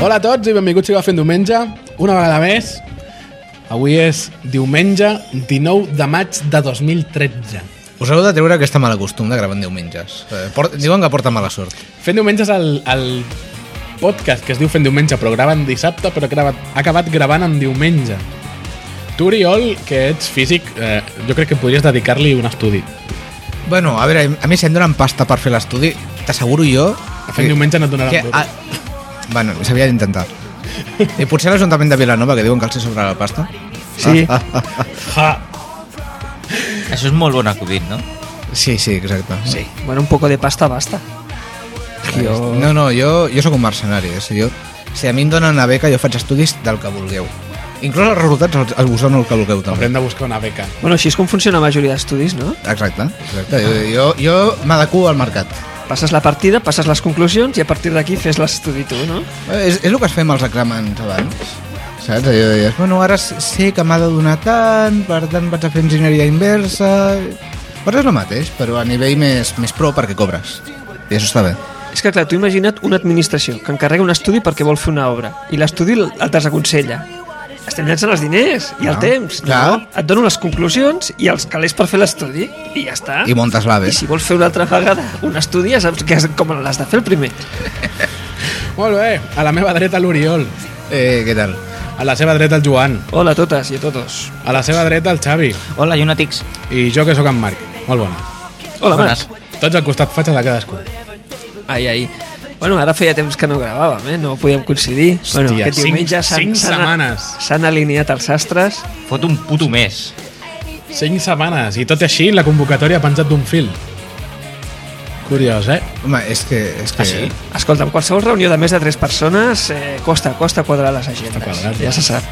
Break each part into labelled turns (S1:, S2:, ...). S1: Hola a tots i benvinguts a fent diumenge, una vegada més. Avui és diumenge 19 de maig de 2013.
S2: Us heu de treure aquesta mala costum de gravar en diumenges. Eh, port, diuen que porta mala sort.
S1: Fent diumenge és el, el podcast que es diu Fent diumenge, però graven dissabte, però grava, ha acabat gravant en diumenge. Tu, Oriol, que ets físic, eh, jo crec que podries dedicar-li un estudi.
S2: Bueno, a veure, a mi si em donen pasta per fer l'estudi, t'asseguro jo...
S1: Fent diumenge no et donaran
S2: que,
S1: duro.
S2: a, bueno, s'havia d'intentar. I potser l'Ajuntament de Vilanova, que diuen que els hi sobra la pasta.
S1: Sí.
S2: Ah, ah, ah.
S1: Ja.
S3: Això és molt bon acudit, no?
S2: Sí, sí, exacte. Sí.
S4: Bueno, un poco de pasta basta.
S2: Jo... No, no, jo, jo sóc un mercenari. O sigui, jo, si a mi em donen una beca, jo faig estudis del que vulgueu. Inclús els resultats els, els us dono el que vulgueu, també.
S1: Haurem de buscar una beca.
S4: Bueno, així és com funciona la majoria d'estudis, no?
S2: Exacte, exacte. Jo, jo, jo m'adecuo al mercat.
S4: Passes la partida, passes les conclusions i a partir d'aquí fes l'estudi tu, no?
S2: Eh, És, és el que es fem els reclamants abans. Saps? Allò deies, bueno, ara sé que m'ha de donar tant, per tant vaig a fer enginyeria inversa... Però és el mateix, però a nivell més, més pro perquè cobres. I això està bé.
S4: És que, clar, tu imagina't una administració que encarrega un estudi perquè vol fer una obra i l'estudi l- et desaconsella. Estem llançant els diners i el
S2: Clar,
S4: temps,
S2: clar.
S4: no? Et dono les conclusions i els calés per fer l'estudi i ja està.
S2: I montes l'AVE.
S4: Ah. I si vols fer una altra vegada un estudi, ja saps que és com l'has de fer el primer.
S1: Molt bé, a la meva dreta l'Oriol,
S2: Eh, què tal?
S1: a la seva dreta el Joan,
S4: Hola a totes i a todos.
S1: a la seva dreta el Xavi
S3: Hola, llunàtics.
S1: i jo que sóc en Marc. Molt bona.
S4: Hola, Marc.
S3: Bones.
S1: Tots al costat faig de cadascú.
S4: Ai, ai. Bueno, ara feia temps que no gravàvem, eh? No podíem coincidir. Hòstia, bueno, aquest
S1: cinc-
S4: diumenge s'han-
S1: cinc
S4: s'han-
S1: setmanes.
S4: S'han alineat els astres.
S3: Fot un puto mes.
S1: Cinc setmanes, i tot i així la convocatòria ha penjat d'un fil. Curiós, eh?
S2: Home, és que... És que...
S3: Ah, sí?
S4: Escolta, en qualsevol reunió de més de tres persones eh, costa, costa quadrar les agendes.
S1: quadrat,
S4: ja se sap.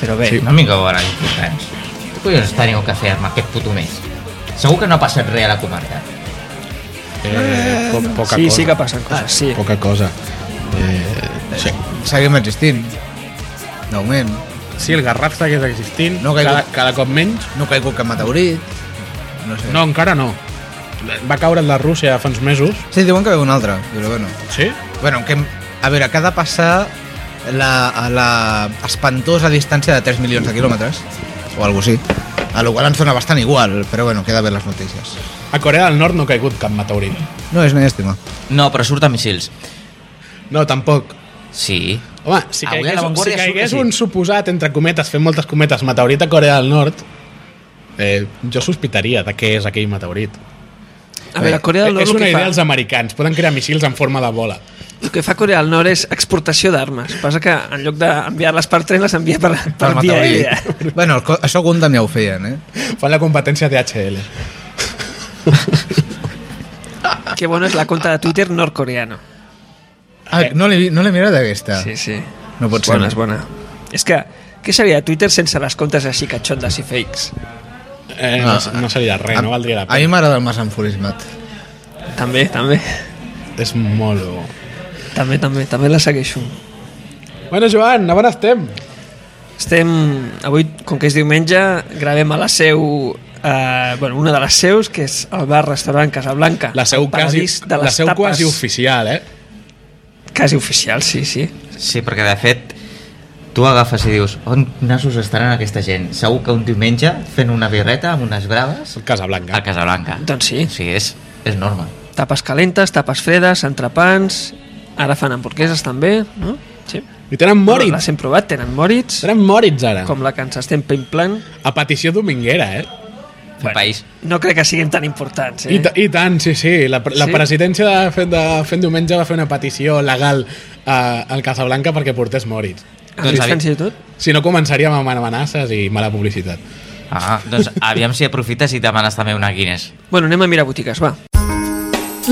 S3: Però bé,
S1: Sí.
S3: sí. no m'encabarà importants. Què collons teniu que fer-me aquest puto mes? Segur que no ha passat res a la comarca.
S1: eh po poca
S4: sí,
S1: cosa.
S4: sí que passen coses, sí.
S1: Poca cosa. Eh, sí.
S2: Seguim existint. D'augment.
S1: sí, el Garraf segueix existint, no
S2: No ha
S1: cada,
S2: caigut.
S1: cada cop menys.
S2: No ha caigut cap meteorit. No sé.
S1: No, encara no. Va caure la Rússia fa uns mesos.
S2: Sí, diuen que ve un altre, però bueno.
S1: Sí?
S2: Bueno, que, a veure, que ha de passar la, a la espantosa distància de 3 milions de quilòmetres, o alguna així. A lo qual ens dona bastant igual, però bueno, queda bé les notícies.
S1: A Corea del Nord no ha caigut cap meteorit.
S2: No és una llàstima.
S3: No, però surt a missils.
S1: No, tampoc.
S3: Sí.
S1: Home, si
S3: Avui a
S1: caigués,
S3: La
S1: si
S3: Vanguardia surt
S1: caigués
S3: que sí.
S1: un suposat, entre cometes, fent moltes cometes, meteorit a Corea del Nord, eh, jo sospitaria de què és aquell meteorit.
S4: A veure, Corea del Nord
S1: Eh, és
S4: el
S1: una
S4: que,
S1: idea dels
S4: fa,
S1: americans, poden crear missils en forma de bola.
S4: el que fa Corea del Nord és exportació d'armes. Passa que en lloc d'enviar-les per tren, les envia per, eh? per
S2: Per
S4: via
S2: meteorit.
S4: aèria.
S2: Bueno, el co- això Gundam ja ho feien, eh?
S1: Fan la competència de HL.
S4: Que bona és la conta de Twitter nord-coreano.
S2: Ah, no l'he vi- no l'he mirat aquesta.
S4: Sí, sí.
S2: No pot
S4: és
S2: ser.
S4: Bona, és bona. És que, què seria de Twitter sense les comptes així catxondes i fakes?
S1: Eh, no, no seria res,
S2: Ah,
S1: no valdria la
S2: A mi
S1: pena.
S2: m'agrada el mas enfurismat.
S4: També, també.
S1: És molt bo.
S4: També, també, també la segueixo.
S1: Bueno, Joan, a on estem?
S4: Estem, avui, com que és diumenge, gravem a la seu, eh, bueno, una de les seus, que és el bar-restaurant Casablanca.
S1: La seu,
S4: el
S1: quasi,
S4: paradís de
S1: la
S4: les
S1: seu
S4: tapes.
S1: quasi oficial, eh?
S4: Quasi oficial, sí, sí.
S3: Sí, perquè de fet tu agafes i dius on nassos estaran aquesta gent? Segur que un diumenge fent una birreta amb unes graves
S1: És el Casablanca.
S3: a Casablanca.
S4: Doncs sí.
S3: Sí, és, és norma.
S4: Tapes calentes, tapes fredes, entrepans... Ara fan hamburgueses també, no? Sí.
S1: I tenen
S4: Les
S1: Moritz.
S4: hem provat, tenen morits,
S1: Tenen Moritz, ara.
S4: com la que ens estem pemplant.
S1: A petició dominguera, eh?
S3: Fent país.
S4: No crec que siguin tan importants, eh?
S1: I, ta- I tant, sí, sí. La, pre- la
S4: Sí?
S1: presidència de, Fent- de Fent Diumenge va fer una petició legal a, al Casablanca perquè portés Moritz.
S4: A
S3: Doncs,
S4: Sitges,
S3: David.
S4: fins i tot?
S1: Si no, començaríem amb amenaces i mala publicitat.
S3: Ah, doncs aviam si aprofites i demanes també una Guinness.
S4: Bueno, anem a mirar botigues, va.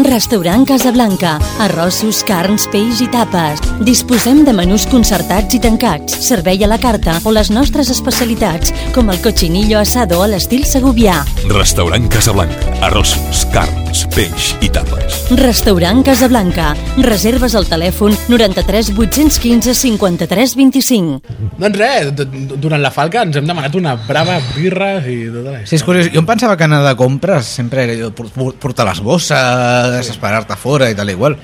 S5: Restaurant Casablanca. Arrossos, carns, peix i tapes. Disposem de menús concertats i tancats, servei a la carta o les nostres especialitats, com el cochinillo asado a l'estil segovià.
S6: Restaurant Casablanca. Arrossos, carns, peix i tapes.
S5: Restaurant Casablanca. Reserves al telèfon 93 815 53 25.
S1: Doncs res, d- d- durant la falca ens hem demanat una brava birra i tota la
S2: Sí, és curiós. Jo em pensava que anar de compres sempre era allò de por- por- portar les bosses, esperar-te fora i tal i igual.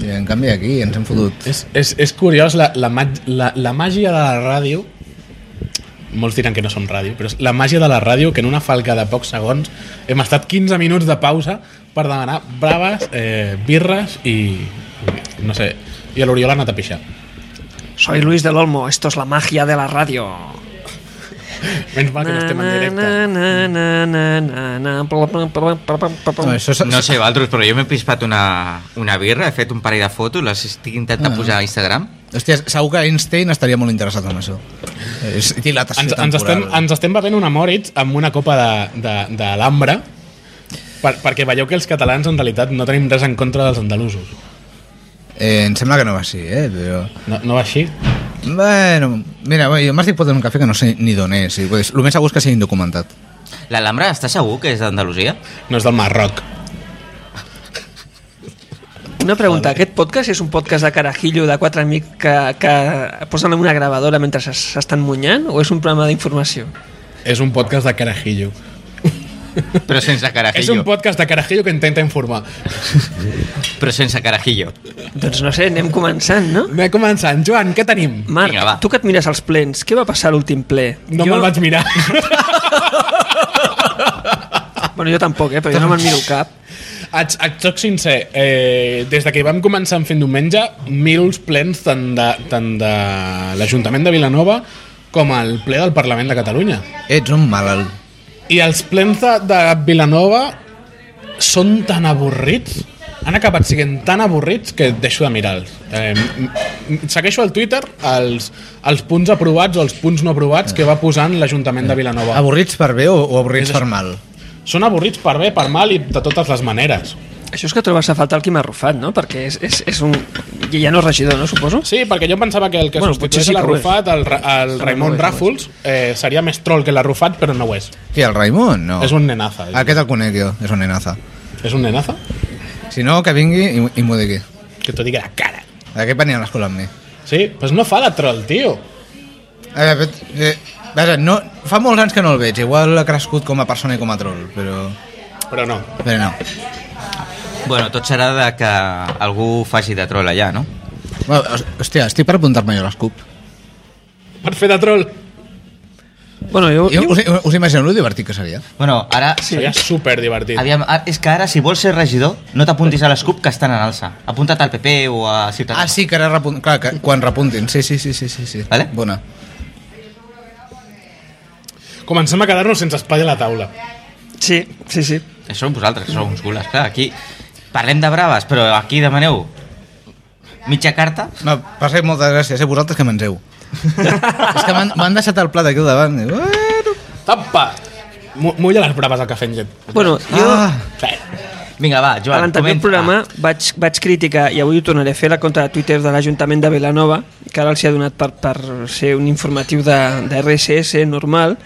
S2: I en canvi aquí ens hem fotut.
S1: És, és, és curiós la, la, mag- la, la màgia de la ràdio molts diran que no som ràdio, però és la màgia de la ràdio que en una falca de pocs segons hem estat 15 minuts de pausa per demanar braves, eh, birres i no sé, i a l'Oriol ha anat a pixar.
S4: Soy Luis del Olmo, esto es la magia de la radio.
S1: Menys mal que no estem en directe.
S2: No, això
S3: No sé, Valtros, però jo m'he pispat una, una birra, he fet un parell de fotos, les estic intentant
S2: Ah.
S3: posar a Instagram.
S2: Hòstia, segur que Einstein estaria molt interessat en això. És dilatació
S1: Ens,
S2: temporal.
S1: ens, estem, ens estem bevent una Moritz amb una copa de, de, de l'Ambra per, perquè veieu que els catalans en realitat no tenim res en contra dels andalusos.
S2: Eh, em sembla que no va així, eh? Però...
S1: No, no va així?
S2: Bueno, mira, bueno, jo m'estic fotent un cafè que no sé ni d'on és. i, pues, El més segur és que sigui indocumentat.
S3: L'Alhambra està segur que és d'Andalusia?
S1: No és del Marroc.
S4: Una pregunta, aquest podcast és un podcast de carajillo de quatre amics que, que posen en una gravadora mentre s'es- s'estan munyant o és un programa d'informació?
S1: És un podcast de carajillo.
S3: Però sense
S1: És
S3: carajillo.
S1: un podcast de carajillo que intenta informar.
S3: Però sense carajillo.
S4: Doncs no sé, anem començant, no?
S1: Anem començant. Joan, què tenim?
S4: Marc,
S3: Vinga, va.
S4: tu que et mires els plens, què va passar a l'últim ple?
S1: No me'l vaig mirar.
S4: Bueno, jo tampoc, eh, però jo no me'n miro cap.
S1: Et, et soc sincer, eh, des de que vam començar en fent diumenge, mils plens tant de, tant de l'Ajuntament de Vilanova com el ple del Parlament de Catalunya.
S2: Ets un malalt.
S1: I els plens de, de Vilanova són tan avorrits, han acabat siguent tan avorrits que deixo de mirar-los. Eh, m- m- segueixo al Twitter els, els punts aprovats o els punts no aprovats que va posant l'Ajuntament de Vilanova.
S2: Avorrits per bé o, o avorrits per mal?
S1: Són avorrits per bé, per mal i de totes les maneres.
S4: Això és que trobes a faltar el Quim Arrufat, no? Perquè és, és, és un... i Ja no és regidor, no, suposo?
S1: Sí, perquè jo em pensava que el que
S4: Bueno,
S1: bueno, substitueix
S4: potser sí
S1: sí
S4: que ho
S1: l'Arrufat, el, Ra- el
S4: Sembla
S1: Raimon
S4: molt bé,
S1: Ràfols, eh, seria més troll que l'Arrufat, però no ho és.
S2: Qui, el Raimon? No.
S1: És un nenaza. eh?
S2: Aquest el conec jo, és un nenaza.
S4: Ah.
S1: És un nenaza?
S2: Si no, que vingui i, i m'ho digui.
S1: Que t'ho digui a la cara.
S2: Aquest venia a l'escola amb mi.
S1: Sí, però pues no fa de troll, tio.
S2: Eh, fet, eh, vaja, no, fa molts anys que no el veig, igual ha crescut com a persona i com a troll, però...
S1: Però no.
S2: Però no.
S3: Bueno, tot serà de que algú faci de troll allà, no?
S2: Bueno, hòs- hòstia, estic per apuntar-me jo a les CUP.
S1: Per fer de troll.
S4: Bueno, jo...
S2: Jo, us, us imagineu lo divertit que seria?
S3: Bueno, ara...
S1: Sí. Seria superdivertit.
S3: Aviam, a- és que ara, si vols ser regidor, no t'apuntis a les CUP que estan en alça. Apunta't al PP o a Ciutadans.
S2: Ah, sí, que ara repun... Clar, que quan repuntin. Sí, sí, sí, sí, sí. sí.
S3: Vale.
S2: Bona.
S1: Comencem a quedar-nos sense espai a la taula.
S4: Sí, sí, sí.
S3: Això són vosaltres, sou uns gules. Clar, aquí parlem de braves, però aquí demaneu mitja carta.
S2: No, passeu moltes gràcies, eh? Vosaltres que mengeu. és que m'han m'han deixat el plat aquí al davant. Diu, Bueno.
S1: Tapa! Mu- Mulla les braves al cafè amb llet.
S4: Bueno, jo...
S2: Ah,
S3: Vinga, va,
S4: A
S3: Joan,
S4: l'anterior
S3: comenta.
S4: programa vaig, vaig criticar, i avui ho tornaré a fer, la contra de Twitter de l'Ajuntament de Vilanova, que ara els hi ha donat per, per ser un informatiu de, de RSS normal,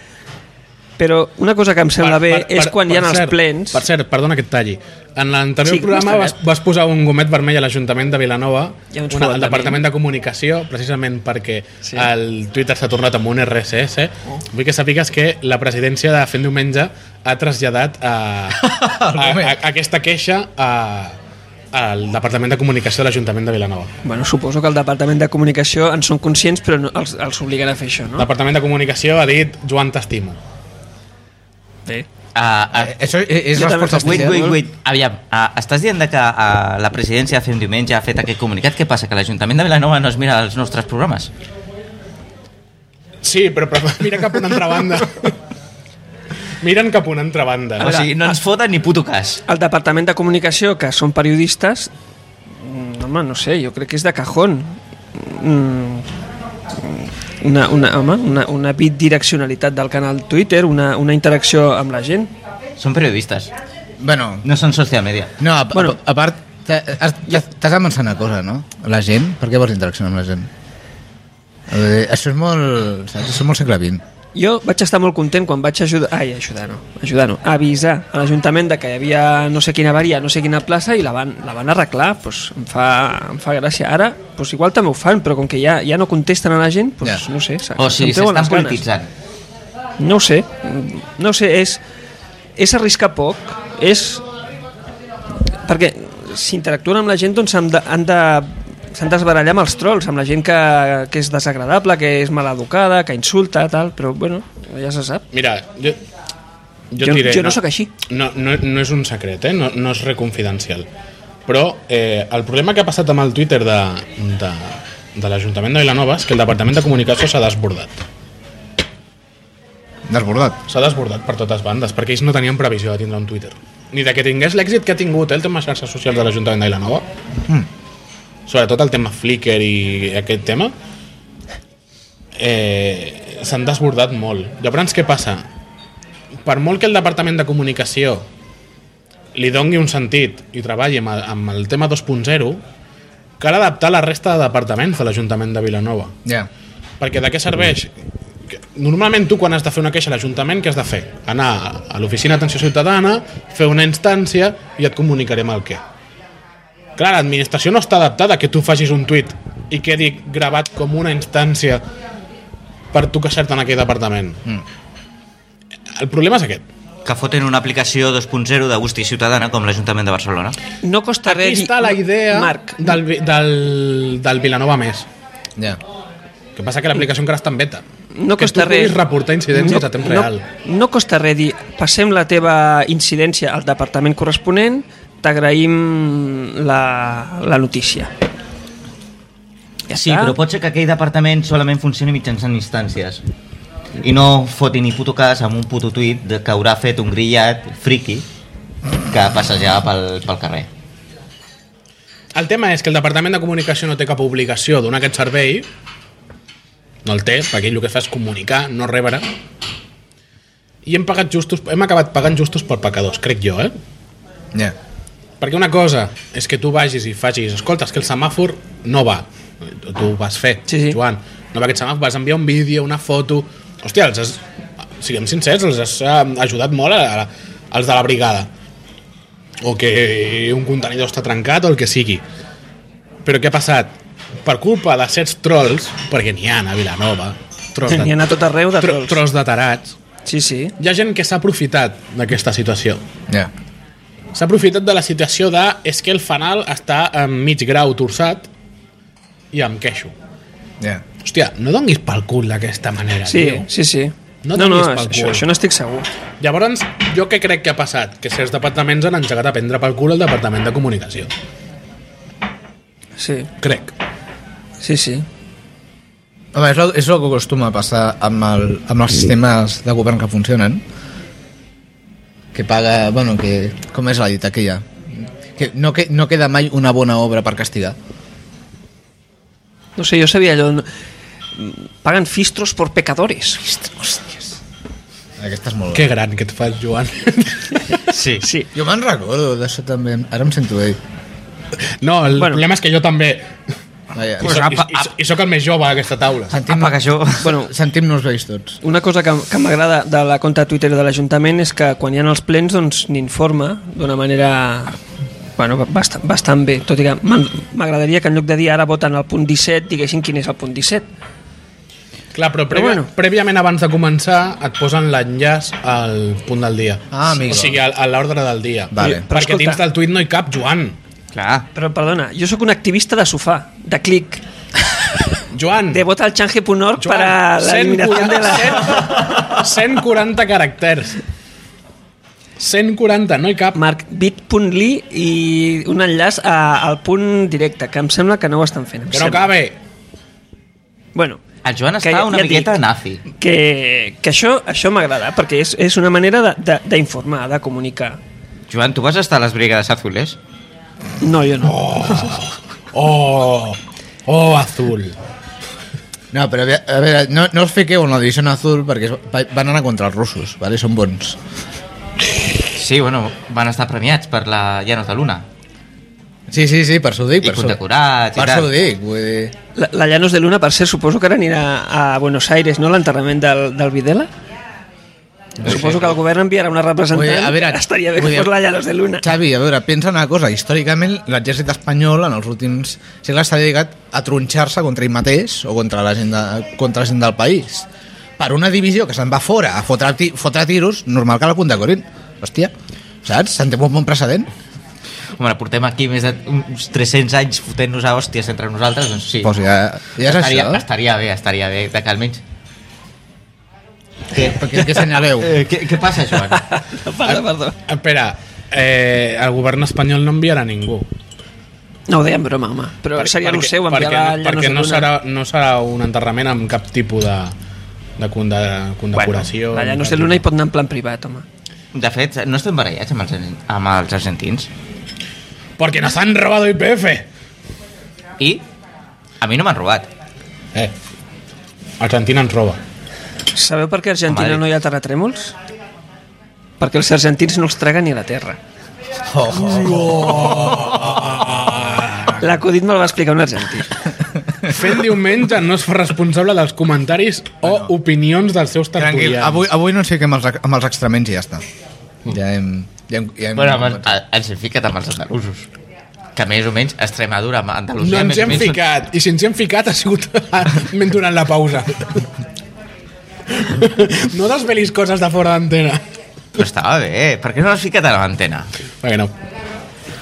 S4: però una cosa que em sembla bé és quan hi ha els
S1: cert,
S4: plens...
S1: Per cert, perdona que et talli. En l'anterior
S4: Sí,
S1: sí, programa
S4: m'has
S1: vas,
S4: tallat.
S1: vas posar un gomet vermell a l'Ajuntament de Vilanova,
S4: I a uns
S1: una, al
S4: foratament.
S1: Departament de Comunicació, precisament perquè
S4: Sí.
S1: sí. el Twitter s'ha tornat amb un RSS. Oh. Vull que sàpigues que la presidència de Fent Diumenge ha traslladat a, a, a, a, aquesta queixa a, al Departament de Comunicació de l'Ajuntament de Vilanova.
S4: Bueno, suposo que el Departament de Comunicació en són conscients, però no, els, els obliguen a fer això,
S1: El
S4: no?
S1: Ah. Departament de Comunicació ha dit Joan t'estimo.
S4: Bé.
S3: Ah, ah,
S2: eh, això és, és
S4: Jo també
S2: resposta eh?
S4: faig-
S3: Wait,
S2: oficial.
S3: wait, wait. Aviam, ah, estàs dient de que ah, la presidència de Fem Diumenge ha fet aquest comunicat? Què passa, que l'Ajuntament de Vilanova no es mira els nostres programes?
S1: Sí, però, però mira cap a una altra banda. Miren cap a una altra banda.
S3: O sigui, no ens foten ni puto cas.
S4: El Departament de Comunicació, que són periodistes, mm, home, no sé, jo crec que és de cajón. Mm, Una, una, home, una, una bidireccionalitat del canal Twitter, una, una interacció amb la gent.
S3: Són periodistes,
S2: Bueno,
S3: no són social media.
S2: no, a,
S4: Bueno.
S2: bueno. a, a part, t'ha- has- t'has de pensar una cosa, no? La gent, per què vols interaccionar amb la gent? Eh, això és molt, saps? Això és molt segle XX.
S4: Jo vaig estar molt content quan vaig ajudar... Ai, ajudar no, ajudar no, avisar a l'Ajuntament de que hi havia no sé quina avaria, no sé quina plaça i la van, la van arreglar, doncs em fa, em fa gràcia. Ara, doncs igual també ho fan, però com que ja, ja no contesten a la gent, doncs
S2: Ja.
S4: no sé, se-
S3: O sigui,
S4: se'n
S3: s'estan
S4: treuen les ganes.
S3: polititzant.
S4: No ho sé, mm, no ho sé, és, és arriscar poc, és... Perquè s'interactuen amb la gent doncs han de, han de s'han d'esbarallar amb els trolls, amb la gent que, que és desagradable, que és maleducada, que insulta, tal, però bueno, ja se sap.
S1: Mira, jo, jo,
S4: Jo-
S1: et diré,
S4: jo no sóc així.
S1: No, no, no és un secret, eh? no, no és reconfidencial. Però eh, el problema que ha passat amb el Twitter de, de, de l'Ajuntament de Vilanova és que el Departament de Comunicació s'ha desbordat.
S2: Desbordat.
S1: S'ha desbordat per totes bandes, perquè ells no tenien previsió de tindre un Twitter. Ni de que tingués l'èxit que ha tingut eh, el tema xarxes socials de l'Ajuntament de Vilanova. Mm. Sobretot el tema Flickr i aquest tema. Eh, S'han desbordat molt. Llavors, què passa? Per molt que el Departament de Comunicació li dongui un sentit i treballi amb, el- amb el tema 2.0, cal adaptar la resta de departaments de l'Ajuntament de Vilanova.
S2: Ja.
S1: Perquè de què serveix? Que- Normalment tu quan has de fer una queixa a l'Ajuntament, què has de fer? Anar a- a l'oficina d'atenció ciutadana, fer una instància i et comunicarem el què. Clar, l'administració no està adaptada a que tu facis un tuit i quedi gravat com una instància per tu queixar-te en aquell departament. Mm. El problema és aquest.
S3: Que foten una aplicació 2.0 de Gusti Ciutadana com l'Ajuntament de Barcelona.
S4: No costa
S1: Aquí
S4: res...
S1: està la idea
S4: Marc,
S1: del, vi- del, del Vilanova Més.
S2: Ja.
S1: El que passa que l'aplicació encara està en beta.
S4: no
S1: que
S4: costa
S1: tu puguis
S4: res.
S1: reportar incidències a temps real.
S4: No, no costa res dir, passem la teva incidència al departament corresponent, t'agraïm la, la notícia. Ja
S3: Sí,
S4: està.
S3: però pot ser que aquell departament solament funcioni mitjançant instàncies. I no foti ni puto cas amb un puto tuit de que haurà fet un grillat friki que passejava pel, pel carrer.
S1: El tema és que el Departament de Comunicació no té cap obligació donar aquest servei, no el té, perquè ell el que fa és comunicar, no rebre, i hem, pagat justos, hem acabat pagant justos per pecadors, crec jo, eh?
S2: Ja.
S1: Perquè una cosa és que tu vagis i facis, escolta, és que el semàfor no va, tu ho vas fer,
S4: Sí, sí.
S1: Joan, no va aquest semàfor, vas enviar un vídeo, una foto... Hòstia, els has, siguem sincers, els has eh, ajudat molt a, a, als de la brigada. O que un contenidor està trencat o el que sigui. Però què ha passat? Per culpa de certs trolls, perquè n'hi ha a Vilanova, trolls de,
S4: N'hi ha a tot arreu de
S1: tro,
S4: trolls.
S1: trolls de tarats,
S4: Sí, sí.
S1: hi ha gent que s'ha aprofitat d'aquesta situació.
S2: Ja.
S1: S'ha aprofitat de la situació de és que el fanal està en mig grau torçat i em queixo.
S2: Ja.
S1: Hòstia, no donguis pel cul d'aquesta manera,
S4: Sí,
S1: tio.
S4: sí, sí.
S1: No
S4: no, no
S1: donis pel
S4: això,
S1: cul.
S4: això no estic segur.
S1: Llavors, jo què crec que ha passat? Que certs departaments han engegat a prendre pel cul el Departament de Comunicació.
S4: Sí,
S1: Crec.
S4: sí, sí.
S2: Home, és el, és el que acostuma a passar amb, el, amb els sistemes de govern que funcionen. Que paga... Bueno, que... Com és la dita aquella? Que no, que no queda mai una bona obra per castigar.
S4: No sé, jo sabia allò... no- Paguen fistros por pecadores.
S2: Hòsties. Aquesta és molt...
S1: Que gran que et fas, Joan.
S3: Sí.
S4: Sí.
S2: Jo me'n recordo d'això també. Ara em sento ell.
S1: No, el
S4: Bueno.
S1: bueno. problema és que jo també.
S2: Vaja,
S1: I,
S3: Pues
S1: so,
S3: apa,
S1: i, i, I sóc el més jove d'aquesta taula.
S2: sentim,
S3: Apa, que això...
S4: Bueno,
S2: sentim-nos vells tots.
S4: una cosa que, que m'agrada de la compte Twitter de l'Ajuntament és que quan hi ha els plens doncs n'informa d'una manera bueno, bastant, bastant bé, tot i que m'han- m'agradaria que en lloc de dir ara voten el punt 17 diguessin quin és el punt 17.
S1: Clar, però, previ,
S4: bueno.
S1: bueno. prèviament abans de començar et posen l'enllaç al punt del dia.
S2: Ah, amigo.
S1: O sigui, a, a l'ordre del dia.
S2: Vale.
S1: Perquè
S4: Però
S1: dins
S4: escolta-
S1: del tuit no hi cap Joan.
S3: Clar.
S4: Però perdona, jo sóc un activista de sofà, de clic,
S1: Joan,
S4: de vota al change.org per a
S1: Joan,
S4: l'eliminació de la...
S1: 140, 140 caràcters. 140, no hi cap.
S4: Marc, bit.ly i un enllaç a, al punt directe, que em sembla que no ho estan fent. em
S1: Que no
S4: sembla.
S1: cabe.
S4: Bueno,
S3: El Joan
S4: Que
S3: està
S4: ja-
S3: una
S4: ja et
S3: miqueta
S4: dic.
S3: nazi.
S4: que, que això, això m'agrada, perquè és, és una manera de- de- d'informar, de, de comunicar.
S3: Joan, tu vas estar a les Brigades Azules?
S4: No, jo no.
S1: Oh, oh, azul.
S2: No, però a veure, a veure no, no us fiqueu en la divisió azul perquè es- va- van anar contra els russos, vale? són bons.
S3: Sí, bueno, van estar premiats per la Llanos de Luna.
S2: Sí, sí, sí, per això ho dic.
S3: I
S2: per això-
S3: condecorats i
S2: Per
S3: tal.
S2: això ho dic, vull dir...
S4: La, la Llanos de Luna, per ser, suposo que ara anirà a Buenos Aires, no?, l'enterrament del, del Videla. Suposo que el govern enviarà una representant.
S2: Vull dir, a veure,
S4: Estaria bé
S2: vull
S4: que
S2: dir-
S4: fos la Llanos de Luna.
S2: Xavi, a veure, pensa una cosa. Històricament, l'exèrcit espanyol en els últims segles s'ha dedicat a tronxar-se contra ell mateix o contra la gent, de, contra la gent del país. Per una divisió que se'n va fora a fotre, ti- fotre tiros, normal que la condecorin. Hòstia, saps? Se'n té un bon precedent.
S7: Home, portem aquí més de uns 300 anys fotent-nos a hòsties entre nosaltres, doncs sí.
S2: Pues ja, ja és
S7: estaria,
S2: això.
S7: Estaria bé, estaria bé, de que almenys... Què,
S2: Perquè què senyaleu?
S7: eh, què, què passa, Joan?
S4: Perdó, perdó.
S1: Espera, eh, el govern espanyol no enviarà ningú.
S4: No ho deia en broma, home. Però
S1: Per-
S4: seria el
S1: perquè-
S4: seu enviar
S1: perquè, no,
S4: la llana
S1: perquè no,
S4: luna.
S1: serà, no serà un enterrament amb cap tipus de, de, conde, condecoració.
S4: la llana luna hi pot anar en plan privat, home.
S7: De fet, no estem barallats amb els, amb els argentins.
S1: Porque nos han robado IPF.
S7: I a mi no m'han robat.
S1: Eh, Argentina ens roba.
S4: Sabeu per què a Argentina
S7: Madre.
S4: no hi ha terratrèmols? Perquè els argentins no els traguen ni a la terra. L'acudit me'l va explicar un argentí.
S1: Fent diumenge no es fa responsable dels comentaris o opinions dels seus
S2: Tranquil,
S1: tertulians.
S2: avui, avui no ens fiquem els, amb els extrements i ja està. Ja hem... Ja hem, ja hem
S7: Mm. Bueno, amb, a, ens hem ficat amb Eh, els andalusos. Que més o menys Extremadura, amb
S1: No
S7: Andalusia...
S1: ens
S7: més o
S1: hem
S7: menys són-
S1: ficat, i si ens hi hem ficat ha sigut men durant la pausa. No desvelis coses de fora d'antena.
S7: Però estava bé, eh? per què no l'has ficat a l'antena?
S1: Perquè no.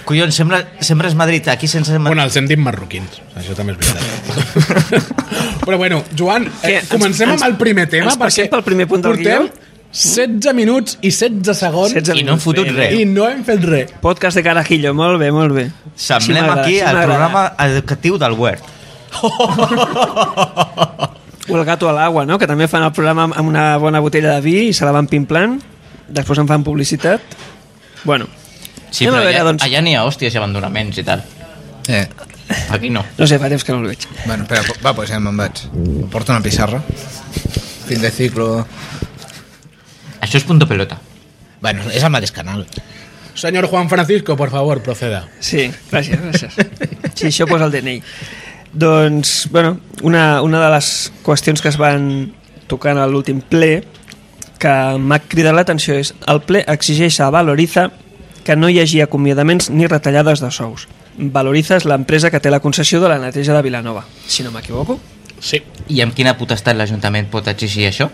S7: Collons, sembla, sembres Madrid, aquí sense...
S1: Bueno, els hem dit marroquins, això també és veritat. Però bueno, Joan, eh,
S4: Què, ens-
S1: comencem
S4: ens-
S1: amb el primer tema,
S4: ens passem pel primer punt del
S1: portem
S4: guió? Mm.
S1: 16 minuts i 16 segons
S4: 16
S7: I no hem fotut
S4: Bé,
S7: res.
S1: i no hem fet res.
S4: Podcast de Carajillo, molt bé, molt bé.
S7: Semblem
S4: m'agrada,
S7: aquí al
S4: m'agrada.
S7: programa educatiu del Word.
S4: O el gato a l'aigua, no? Que també fan el programa amb una bona botella de vi i se la van pimplant. Després en fan publicitat. Bueno,
S7: Sí,
S4: Anem
S7: però
S4: a veure,
S7: allà,
S4: doncs.
S7: allà n'hi ha hòsties i abandonaments i tal.
S2: Eh,
S7: Aquí no.
S4: no sé, fa temps que no el veig.
S2: bueno, espera, va, pues ja me'n vaig. Em Porto una pissarra. Fin de ciclo.
S7: Això és punto pelota.
S2: Bueno, és el mateix canal.
S1: Señor Juan Francisco, por favor, proceda.
S4: Sí, gràcies, gràcies. Sí, això posa el DNI. Doncs, bueno, una, una de les qüestions que es van tocar en l'últim ple que m'ha cridat l'atenció és el ple exigeix a Valoriza que no hi hagi acomiadaments ni retallades de sous. Valoriza és l'empresa que té la concessió de la neteja de Vilanova, si no m'equivoco.
S1: Sí.
S7: I amb quina potestat l'Ajuntament pot exigir això?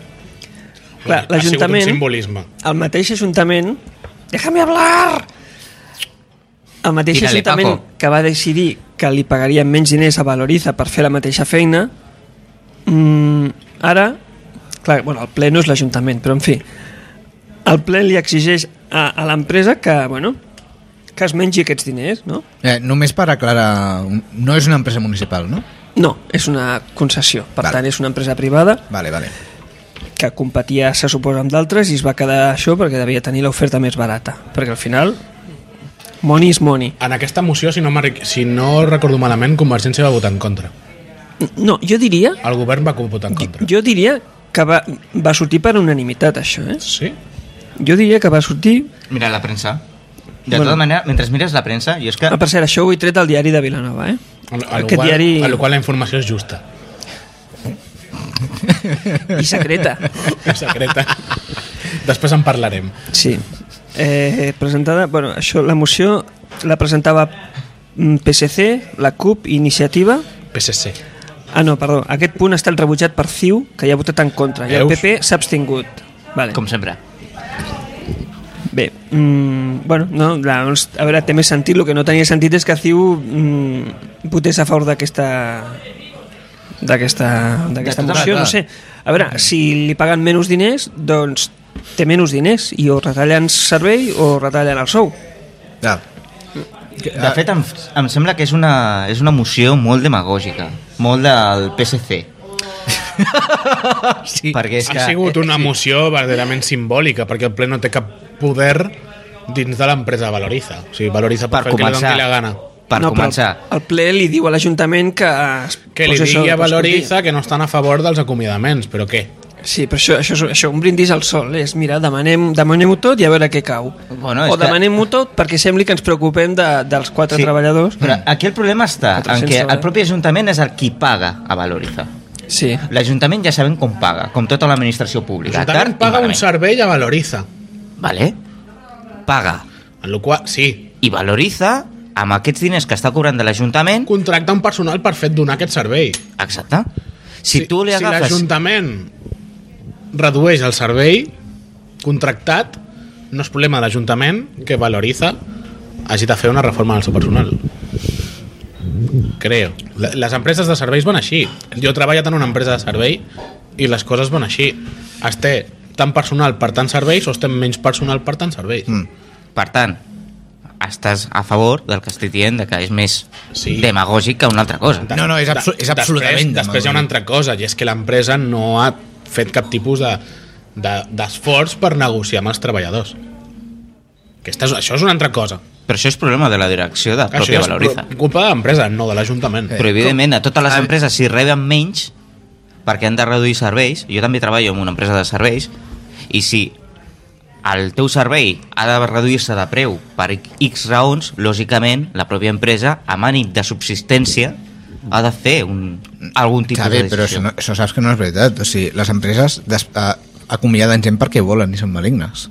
S4: Clar,
S1: Ha sigut un
S4: l'Ajuntament...
S1: simbolisme.
S4: el mateix Ajuntament... Déjame hablar! El mateix
S7: Tira-li,
S4: Ajuntament
S7: Paco.
S4: que va decidir que li pagarien menys diners a Valoriza per fer la mateixa feina, mm, ara... Clar, bueno, el ple no és l'Ajuntament, però en fi. El ple li exigeix a, a l'empresa que, bueno, que es mengi aquests diners, no?
S2: Eh, només per aclarar, un- no és una empresa municipal, no?
S4: No, és una concessió. Per
S2: Val.
S4: tant, és una empresa privada
S2: Vale, vale.
S4: que competia, se suposa, amb d'altres i es va quedar això perquè devia tenir l'oferta més barata. Perquè al final, money is money.
S1: En aquesta moció, si no, m'arric- si no recordo malament, Convergència va votar en contra.
S4: No, jo diria,
S1: El govern va votar en contra.
S4: jo diria que va, va sortir per unanimitat, això, eh?
S1: Sí?
S4: Jo diria que va sortir...
S7: Mira la premsa. De
S4: Bueno.
S7: tota manera, mentre mires la premsa, jo és que...
S4: Ah, per cert, això ho he tret al diari de Vilanova, eh?
S1: El, el
S4: Aquest
S1: qual,
S4: diari-
S1: el qual la informació és justa.
S4: I secreta.
S1: És secreta. Després en parlarem.
S4: Sí. Eh, presentada... Bueno, això, la moció la presentava mm, PSC, la CUP, i Iniciativa...
S1: PSC.
S4: Ah, no, perdó. Aquest punt ha estat rebutjat per CiU, que hi ha votat en contra, i el
S1: Veus?
S4: PP s'ha abstingut. Vale.
S7: Com sempre.
S4: Bé, mm, bueno, no, la, doncs, a veure, té més sentit. El que no tenia sentit és que CiU mm, votés a favor d'aquesta d'aquesta d'aquesta
S7: De tota
S4: moció,
S7: manera.
S4: no sé. A veure, si li paguen menys diners, doncs té menys diners i o retallen servei o retallen el sou.
S2: Ja.
S7: De
S4: ah.
S7: fet, em, em sembla que és una, és una moció molt demagògica. Molt del PSC. sí. Perquè és que... eh,
S1: Ha sigut una moció verdaderament simbòlica, perquè el ple no té cap poder dins de l'empresa Valoriza. O sigui, Valoriza pot
S7: Per
S1: per fer el que li
S7: començar,
S1: doni la gana.
S7: per
S4: no,
S7: no, començar,
S4: Però el ple li diu a l'Ajuntament que... es
S1: Que li
S4: posi això
S1: digui a
S4: per
S1: Valoriza que no estan a favor dels acomiadaments, però què?
S4: sortir. Sí, però això, això, és- això un brindis al sol és, mira, demanem-ho demanem tot i a veure què cau.
S7: Bueno, és
S4: o
S7: que-
S4: demanem-ho tot perquè sembli que ens preocupem de, dels quatre treballadors. Mm.
S7: Però aquí el problema està en
S4: 400
S7: què el
S4: dòlars.
S7: propi Ajuntament és el qui paga a Valoriza.
S4: Sí.
S7: L'Ajuntament ja sabem com paga, com tota l'administració pública.
S1: L'Ajuntament
S7: tard i
S1: paga un
S7: malament.
S1: servei a Valoriza.
S7: Vale? Paga.
S1: En la qual, sí,
S7: I Valoriza, amb aquests diners que està cobrant de l'Ajuntament...
S1: contracta un personal per fer donar aquest servei.
S7: Exacte. Si, si tu li
S1: si
S7: agafes...
S1: l'Ajuntament redueix el servei contractat, no és problema de l'Ajuntament que valoritza hagi de fer una reforma del seu personal. Creo. La- Les empreses de serveis van així. Jo he treballat en una empresa de servei i les coses van així. Es té tant personal per tant serveis o es té menys personal per tant serveis. Mm.
S7: Per tant, estàs a favor del que estic dient, de que és més
S1: Sí.
S7: demagògic que una altra cosa.
S2: No, no, és absu- és absolutament
S1: Després, després hi ha una altra cosa, i és que l'empresa no ha fet cap tipus de- de- d'esforç de, per negociar amb els treballadors. Aquesta és, això és una altra cosa.
S7: Però això és problema de la direcció de
S1: Això
S7: pròpia
S1: és
S7: Valoriza.
S1: pro- culpa de l'empresa, no de l'Ajuntament.
S2: Eh,
S7: Però, evidentment, a totes les empreses, si reben menys, perquè han de reduir serveis, jo també treballo en una empresa de serveis, i si el teu servei ha de reduir-se de preu per X raons, lògicament, la pròpia empresa, amb ànim de subsistència, ha de fer un, algun tipus
S2: Està bé,
S7: de
S2: però això,
S7: decisió.
S2: no, això saps que no és veritat. O sigui, les empreses des, a, acomiaden gent perquè volen i són malignes.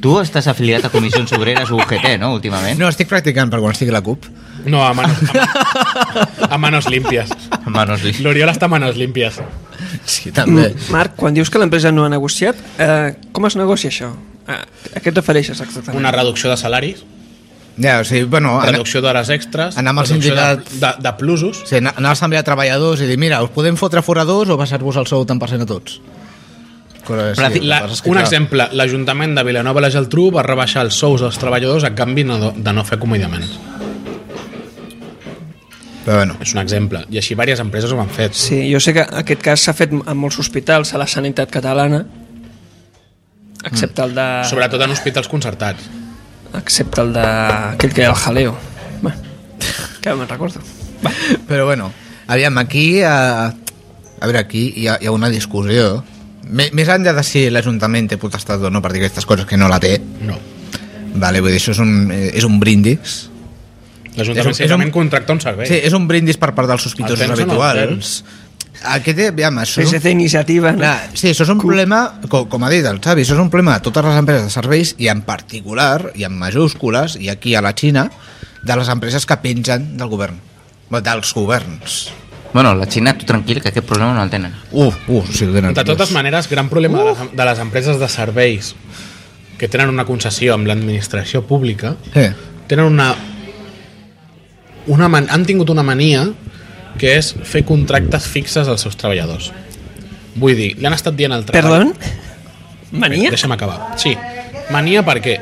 S7: Tu estàs afiliat a Comissions Obreres UGT, no,
S1: Eh?
S7: últimament?
S2: No, estic practicant per quan estic a la CUP.
S1: No, a manos, a, ma- a manos limpias.
S7: Manos li...
S1: L'Oriol està a manos limpias.
S2: Sí, també.
S4: Mm, Marc, quan dius que l'empresa no ha negociat, eh, com es negocia això? A, a què et refereixes exactament?
S1: Una reducció de salaris,
S2: Ja, o sigui, bueno, anar,
S1: reducció d'hores extres,
S2: Anar amb el
S1: reducció de,
S2: sindicat-
S1: de, de plusos.
S2: o sigui, anar, anar a l'assemblea de treballadors i dir, mira, us podem fotre foradors o baixar-vos el sou tant per cent a tots. Coses
S7: Però,
S2: així, el
S7: fi-
S2: que
S1: La,
S2: passa és que,
S1: un
S2: clar,
S1: exemple, l'Ajuntament de Vilanova i la Geltrú va rebaixar els sous dels treballadors a canvi no, de no fer acomiadaments.
S2: Però bueno,
S1: És un exemple. I així diverses empreses ho han fet.
S4: Sí, jo sé que aquest cas s'ha fet en molts hospitals, a la sanitat catalana, excepte el de...
S2: Ah.
S1: Sobretot en hospitals concertats.
S4: Excepte el de... aquell que era el jaleo. Bé, que me'n recordo.
S2: però bueno, aviam, aquí... eh, A, a veure, aquí hi ha, hi ha una discussió. Mé- Més enllà de si l'Ajuntament té potestat o no per dir aquestes coses que no la té,
S1: No.
S2: vale, vull dir, això és un, eh, és un brindis, És un-
S1: L'Ajuntament
S2: és un-
S1: simplement contracta un servei.
S2: Sí, és un brindis per part dels sospitosos
S1: El tens o no el
S2: habituals. Aquest, eh, aviam, això... és un-
S4: PSC iniciativa... No?
S2: Clar, sí, això és un problema, com, com ha dit el Xavi, això és un problema de totes les empreses de serveis i en particular, i en majúscules, i aquí a la Xina, de les empreses que pengen del govern. Bé, Dels governs.
S7: Bueno, la Xina, tu tranquil, que aquest problema no el tenen.
S2: Uh, uh, si ho tenen.
S1: De totes maneres, gran problema de, les, de les empreses de serveis que tenen una concessió amb l'administració pública
S2: Eh,
S1: tenen una, una man han tingut una mania que és fer contractes fixes als seus treballadors. Vull dir, li han estat dient al treball...
S4: Perdó? Mania?
S1: Deixa'm acabar. Sí. Mania per què?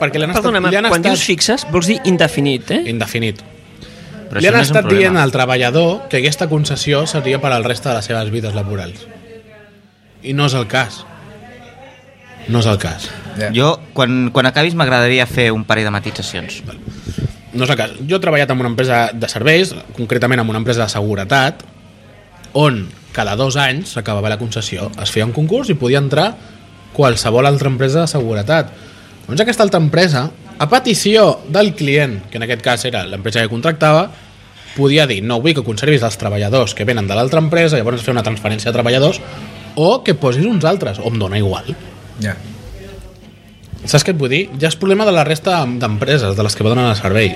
S1: Perquè li han
S4: Perdona,
S1: estat, li
S4: Marc,
S1: han
S4: quan dius
S1: estat
S4: fixes vols dir indefinit, eh?
S1: indefinit.
S7: Però
S1: Li
S7: això
S1: han
S7: no és un
S1: estat
S7: problema.
S1: dient al treballador que aquesta concessió seria per al reste de les seves vides laborals. I no és el cas. No és el cas.
S2: ja.
S7: Jo, quan, quan acabis, m'agradaria fer un parell de matitzacions.
S1: No és el cas. Jo he treballat en una empresa de serveis, concretament en una empresa de seguretat, on cada dos anys s'acabava la concessió, es feia un concurs i podia entrar qualsevol altra empresa de seguretat. Doncs aquesta altra empresa, a petició del client, que en aquest cas era l'empresa que contractava, podia dir, no vull que conservis els treballadors que venen de l'altra empresa, llavors fer una transferència de treballadors, o que posis uns altres, o em dóna igual.
S2: ja.
S1: Saps què et vull dir? Ja és problema de la resta d'empreses, de les que donen el servei.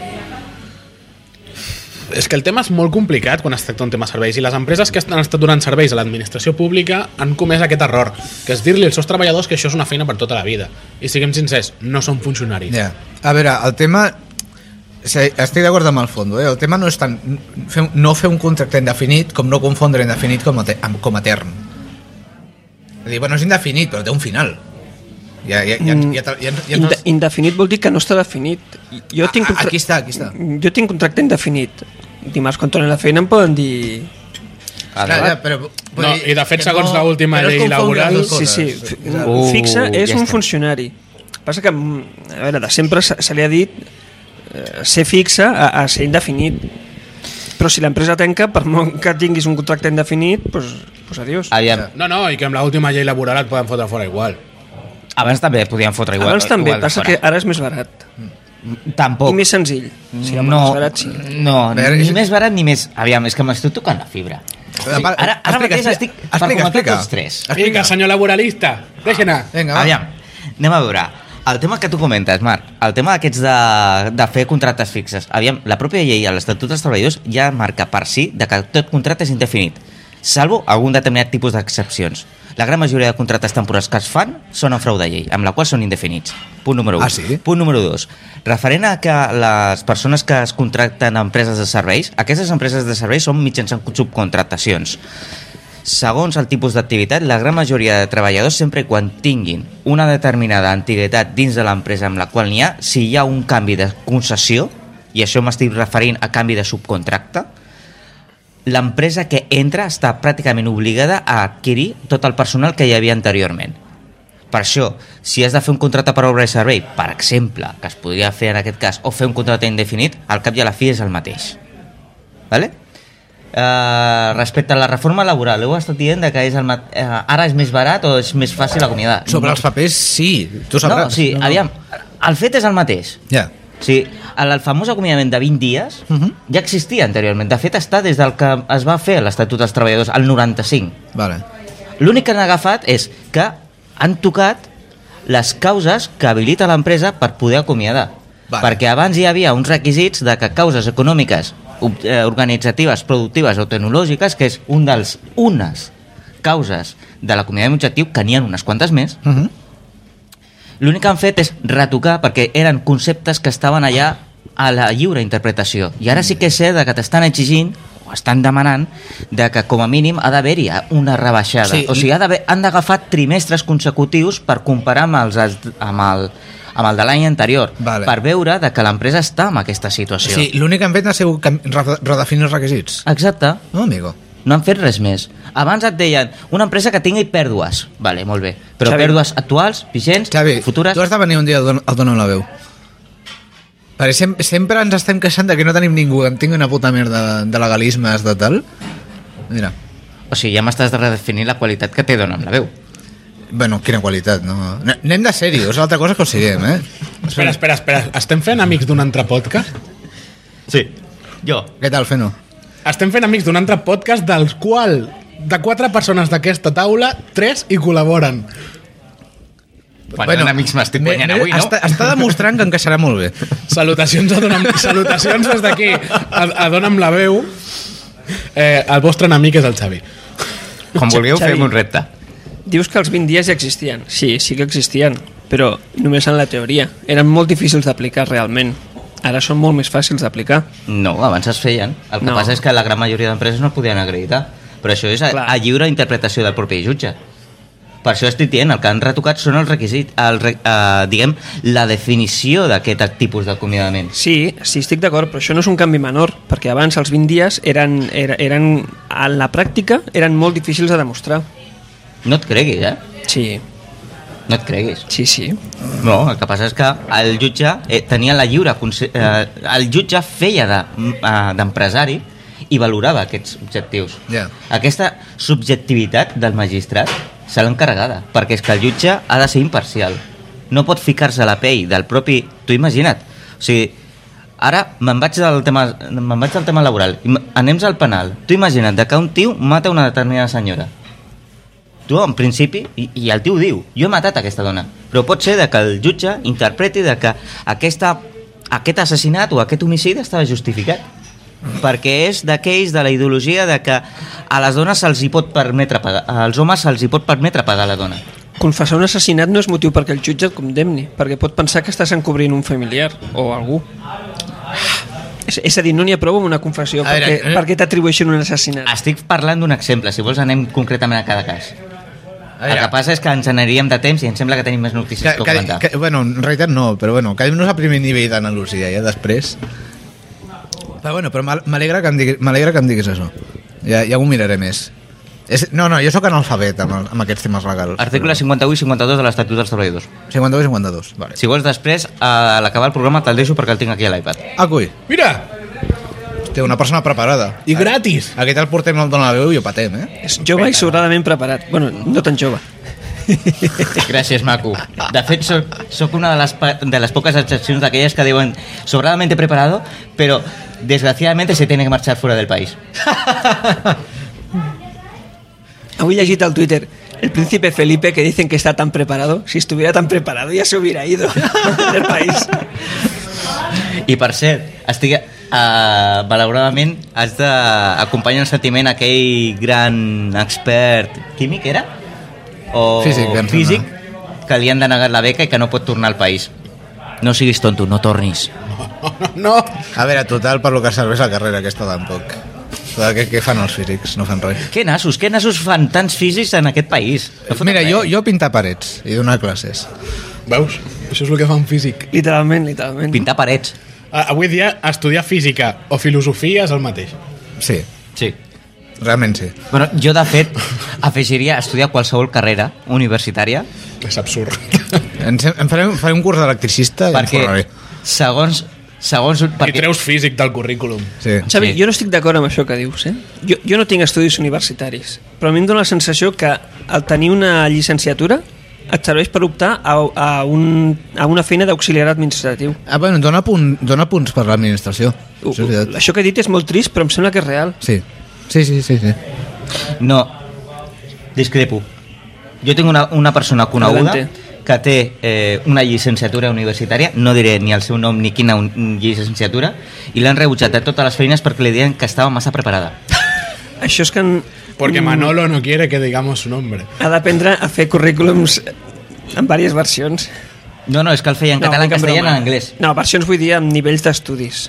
S1: És que el tema és molt complicat quan es tracta un tema serveis i les empreses que han estat donant serveis a l'administració pública han comès aquest error, que és dir-li als seus treballadors que això és una feina per tota la vida. I siguem sincers, no són funcionaris.
S2: Ja. A veure, el tema... Sí, Estic d'acord amb el fons, eh? el tema no és tant fer, no fer un contracte indefinit com no confondre indefinit com a, te, amb- com a etern. És a dir, bueno, és indefinit, però té un final. Ja, ja, ja,
S7: Mm,
S2: ja, ja, ja, ja
S4: Mm. Inde indefinit vol dir que no està definit. Jo
S2: A-
S4: tinc
S2: a- aquí està, aquí està.
S4: Jo tinc contracte indefinit. Dimarts, quan torni a la feina, em poden dir...
S2: Clar, Ah, ja, però, vull
S1: No, i
S2: dir
S1: de fet,
S2: que
S1: segons l'última
S2: que no es
S1: llei
S2: confongui
S1: laboral-
S2: les dues
S4: Sí,
S2: coses.
S4: sí, fi-
S7: Uh,
S4: fixa és
S7: ja
S4: un
S7: està.
S4: funcionari. Passa que, mm, a veure, de sempre se, se li ha dit eh, ser fixa a, a ser indefinit. Però si l'empresa tanca, per molt que tinguis un contracte indefinit, doncs, doncs adiós.
S7: Aviam,
S1: No, no, i que amb l'última llei laboral et poden fotre fora igual.
S7: abans també podíem fotre igual.
S4: Abans també,
S7: igual de
S4: passa
S7: fora.
S4: que ara és més barat.
S7: Tampoc.
S4: I més senzill. Sí, home,
S7: no,
S4: més barat, sí.
S7: no,
S2: Però
S7: ni
S2: és-
S7: més barat ni més... Aviam, és que m'estic tocant la fibra.
S2: Ara-
S7: Ara, ara
S2: explica,
S7: mateix
S2: explica,
S7: estic per
S2: explica,
S7: comentar
S2: explica. Eh,
S7: tots tres.
S1: Vinga, senyor laboralista, deixa anar.
S2: Vinga, va.
S7: Aviam, anem a veure. El tema que tu comentes, Marc, el tema d'aquests de, de fer contractes fixes. Aviam, la pròpia llei a l'Estatut dels Treballadors ja marca per si de que tot contracte és indefinit, salvo algun determinat tipus d'excepcions. La gran majoria de contractes temporals que es fan són en frau de llei, amb la qual són indefinits. Punt número 1.
S2: Ah, sí?
S7: Punt número 2. Referent a que les persones que es contracten a empreses de serveis, aquestes empreses de serveis són mitjançant subcontractacions. Segons el tipus d'activitat, la gran majoria de treballadors, sempre i quan tinguin una determinada antiguitat dins de l'empresa amb la qual n'hi ha, si hi ha un canvi de concessió, i això m'estic referint a canvi de subcontracte, l'empresa que entra està pràcticament obligada a adquirir tot el personal que hi havia anteriorment. Per això, si has de fer un contracte per obra i servei, per exemple, que es podria fer en aquest cas, o fer un contracte indefinit, al cap i a la fi és el mateix. Vale? Uh, respecte a la reforma laboral, heu estat dient de que és el mat- eh, ara és més barat o és més fàcil acomiadar?
S2: Sobre els papers, sí. Tu
S7: No,
S2: sabràs.
S7: sí, aviam, el fet és el mateix.
S2: Ja.
S7: O sigui, el, el famós acomiadament de 20 dies uh -huh.
S2: Mhm.
S7: ja existia anteriorment. De fet, està des del que es va fer l'Estatut dels Treballadors, el 95.
S2: Vale.
S7: L'únic que han agafat és que han tocat les causes que habilita l'empresa per poder acomiadar.
S2: Vale.
S7: Perquè abans hi havia uns requisits de que causes econòmiques, ob- eh, organitzatives, productives o tecnològiques, que és un dels unes causes de l'acomiadament objectiu, que n'hi ha unes quantes més,
S2: Uh -huh.
S7: L'únic que han fet és retocar perquè eren conceptes que estaven allà a la lliure interpretació. I ara sí que sé de que t'estan exigint o estan demanant de que com a mínim ha d'haver-hi una rebaixada. Sí,
S2: Sí,
S7: o sigui,
S2: i-
S7: ha d'haver- han d'agafar trimestres consecutius per comparar amb, els, als- amb el amb el de l'any anterior,
S2: Vale.
S7: per veure de que l'empresa està en aquesta situació.
S2: Sí, l'únic que han fet ha sigut cam- re- redefinir els requisits.
S7: Exacte.
S2: No, amigo?
S7: No han fet res més. Abans et deien una empresa que tingui pèrdues. Vale, molt bé. Però
S4: Xavi.
S7: pèrdues actuals, vigents,
S2: Xavi,
S7: futures...
S2: tu has de venir un dia al Don- al Dono la veu. Perquè sem sempre ens estem queixant de que no tenim ningú que en tingui una puta merda de, de legalisme estatal. Mira,
S7: O sigui, ja m'estàs de redefinir la qualitat que té dona amb la veu.
S2: bueno, quina qualitat, no? N- Anem de sèrio, és l'altra cosa que ho siguem, eh?
S1: Espera, espera, espera. Estem fent amics d'un altre podcast?
S7: Sí. Jo.
S2: Què tal, Feno?
S1: Estem fent amics d'un altre podcast del qual de quatre persones d'aquesta taula, tres hi col·laboren.
S7: Quan bueno, amics m'estic
S2: ne-
S7: guanyant
S2: ne-
S7: avui, no?
S2: Està, està demostrant que encaixarà molt bé.
S1: Salutacions, a Dona'm, salutacions des d'aquí a, a Dona'm la veu. Eh, el vostre enemic és el Xavi.
S7: Quan vulgueu
S4: Xavi.
S7: fem un repte.
S4: Dius que els 20 dies ja existien. Sí, sí que existien, però només en la teoria. Eren molt difícils d'aplicar realment. Ara són molt més fàcils d'aplicar.
S7: No, abans es feien. El que
S4: No.
S7: no. passa és que la gran majoria d'empreses no podien acreditar. Però això és a,
S4: Clar.
S7: a lliure interpretació del propi jutge. Per això estic dient, el que han retocat són els requisits, el, re- eh, diguem, la definició d'aquest tipus d'acomiadament.
S4: Sí, sí, estic d'acord, però això no és un canvi menor, perquè abans els 20 dies eren, era- eren, en la pràctica eren molt difícils de demostrar.
S7: No et creguis, eh?
S4: Sí,
S7: No et creguis.
S4: sí, sí.
S7: No, el que passa és que el jutge eh, tenia la lliure... conse- Eh, el jutge feia de- m- eh, d'empresari de, i valorava aquests objectius.
S2: Ja.
S7: Aquesta subjectivitat del magistrat se l'ha encarregada, perquè és que el jutge ha de ser imparcial. No pot ficar-se a la pell del propi... Tu imagina't. O sigui, ara me'n vaig, del tema, me'n vaig del tema laboral. i m- Anem al penal. Tu imagina't de que un tio mata una determinada senyora. Tu, en principi, i, i el tio ho diu, jo he matat aquesta dona. Però pot ser de que el jutge interpreti de que aquesta, aquest assassinat o aquest homicidi estava justificat. Perquè és d'aquells de la ideologia de que a les dones se'ls hi pot permetre pagar, als homes se'ls hi pot permetre pagar la dona.
S4: Confessar un assassinat no és motiu perquè el jutge et condemni, perquè pot pensar que estàs encobrint un familiar o algú. Ah, És, és a dir, no n'hi ha prou amb una confessió
S2: A veure,
S4: perquè,
S2: eh?
S4: perquè t'atribueixin un assassinat.
S7: Estic parlant d'un exemple, si vols anem concretament a cada cas. El que
S2: Ara,
S7: passa és que ens aniríem de temps i em sembla que tenim més notícies que,
S2: Ah, que,
S7: que,
S2: que,
S7: comentar.
S2: que, bueno, en realitat no, però bueno, quedem-nos al primer nivell d'andalusia, ja després. Però bueno, però m'al- m'alegra que, em digui- m'alegra que em diguis això. Ja, ja ho miraré més. És, no, no, jo sóc analfabet amb, el- amb aquests temes legals.
S7: Article 58 i 52 de l'Estatut dels Treballadors.
S2: 52 i 52, vale.
S7: Si vols després, eh, a l'acabar el programa te'l deixo perquè el tinc aquí a l'iPad.
S2: Ah, coi,
S1: Mira,
S2: té una persona preparada.
S1: i gratis.
S2: Aquest el portem al Dona la Veu i ho patem, eh?
S4: És jove i sobradament preparat. Bueno, no tan jove.
S7: Gràcies, maco. De fet, soc, soc una de les, pa- de les poques excepcions d'aquelles que diuen sobradamente preparado, però desgraciadamente se tiene que marchar fuera del país.
S4: Avui he llegit al Twitter el príncipe Felipe que dicen que está tan preparado. Si estuviera tan preparado ya se hubiera ido del país.
S7: I per cert, estic uh, malauradament has d'acompanyar el sentiment a aquell gran expert químic, era? o
S2: Físic, em sembla.
S7: físic que li han denegat la beca i que no pot tornar al país. No siguis tonto, no tornis.
S1: No!
S2: A veure, total, per lo que serveix la carrera aquesta tampoc. Total, Què, què fan els físics? No fan res.
S7: Què nassos, què nassos fan tants físics en aquest país? No foten
S2: Mira,
S7: res.
S2: jo, jo pintar parets i donar classes.
S1: Veus? Això és el que fa un físic.
S4: Literalment, literalment.
S7: Pintar parets.
S1: A- Avui dia, estudiar física o filosofia és el mateix.
S2: Sí,
S7: Sí.
S2: realment sí.
S7: Bueno, jo, de fet, afegiria estudiar qualsevol carrera universitària
S1: És absurd.
S2: Em, sem- em faré, faré un curs d'electricista i em
S7: perquè,
S2: forraré.
S7: segons... segons
S1: Perquè... I
S7: perquè,
S1: treus físic del currículum.
S2: Sí.
S4: Xavi,
S7: Sí.
S4: jo no estic d'acord amb això que dius, eh? Jo, jo no tinc estudis universitaris, però a mi em dóna la sensació que el tenir una llicenciatura et serveix per optar a, a, un, a una feina d'auxiliar administratiu.
S2: Ah, bueno, dona, punt, dona punts per l'administració.
S4: U-
S2: Això és veritat.
S4: Això que he dit és molt trist, però em sembla que és real.
S2: Sí. Sí, sí, sí, sí.
S7: No, discrepo. Jo tinc una, una persona coneguda
S4: Adelante.
S7: que té eh, una llicenciatura universitària, no diré ni el seu nom ni quina un, llicenciatura, i l'han rebutjat de totes les feines perquè li deien que estava massa preparada.
S4: Això és que han,
S1: Porque Manolo no quiere que digamos su nombre.
S4: ha d'aprendre a fer currículums en diverses versions.
S7: No, no, és que el feia en català, en
S4: dic
S7: castellà i en
S4: broma.
S7: anglès.
S4: No, versions vull dir amb nivells d'estudis.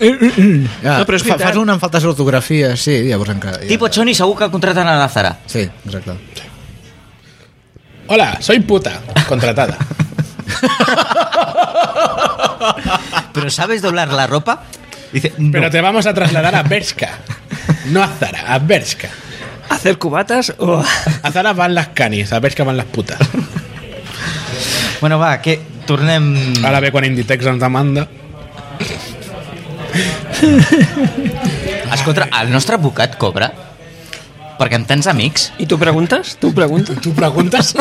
S2: Ja,
S4: No, però és
S2: fa,
S4: veritat.
S2: fas una amb faltes d'ortografia, sí, llavors encara... Ja.
S7: Tipo Choni segur que contraten a la Zara.
S2: Sí, exacte.
S1: Hola, soy puta. Contratada.
S7: Però sabes doblar la ropa? Dice, no.
S1: Pero te vamos a trasladar a Berska. No a Zara, a Berska.
S4: A Hacer cubatas o...
S1: A Zara van las canis, a Berska van las putas.
S7: Bueno, va, que tornem...
S1: Ara ve quan Inditex ens demanda.
S7: Escolta, el nostre advocat cobra? Perquè amb tants amics...
S4: I tu preguntes? Tu preguntes?
S1: Tu preguntes?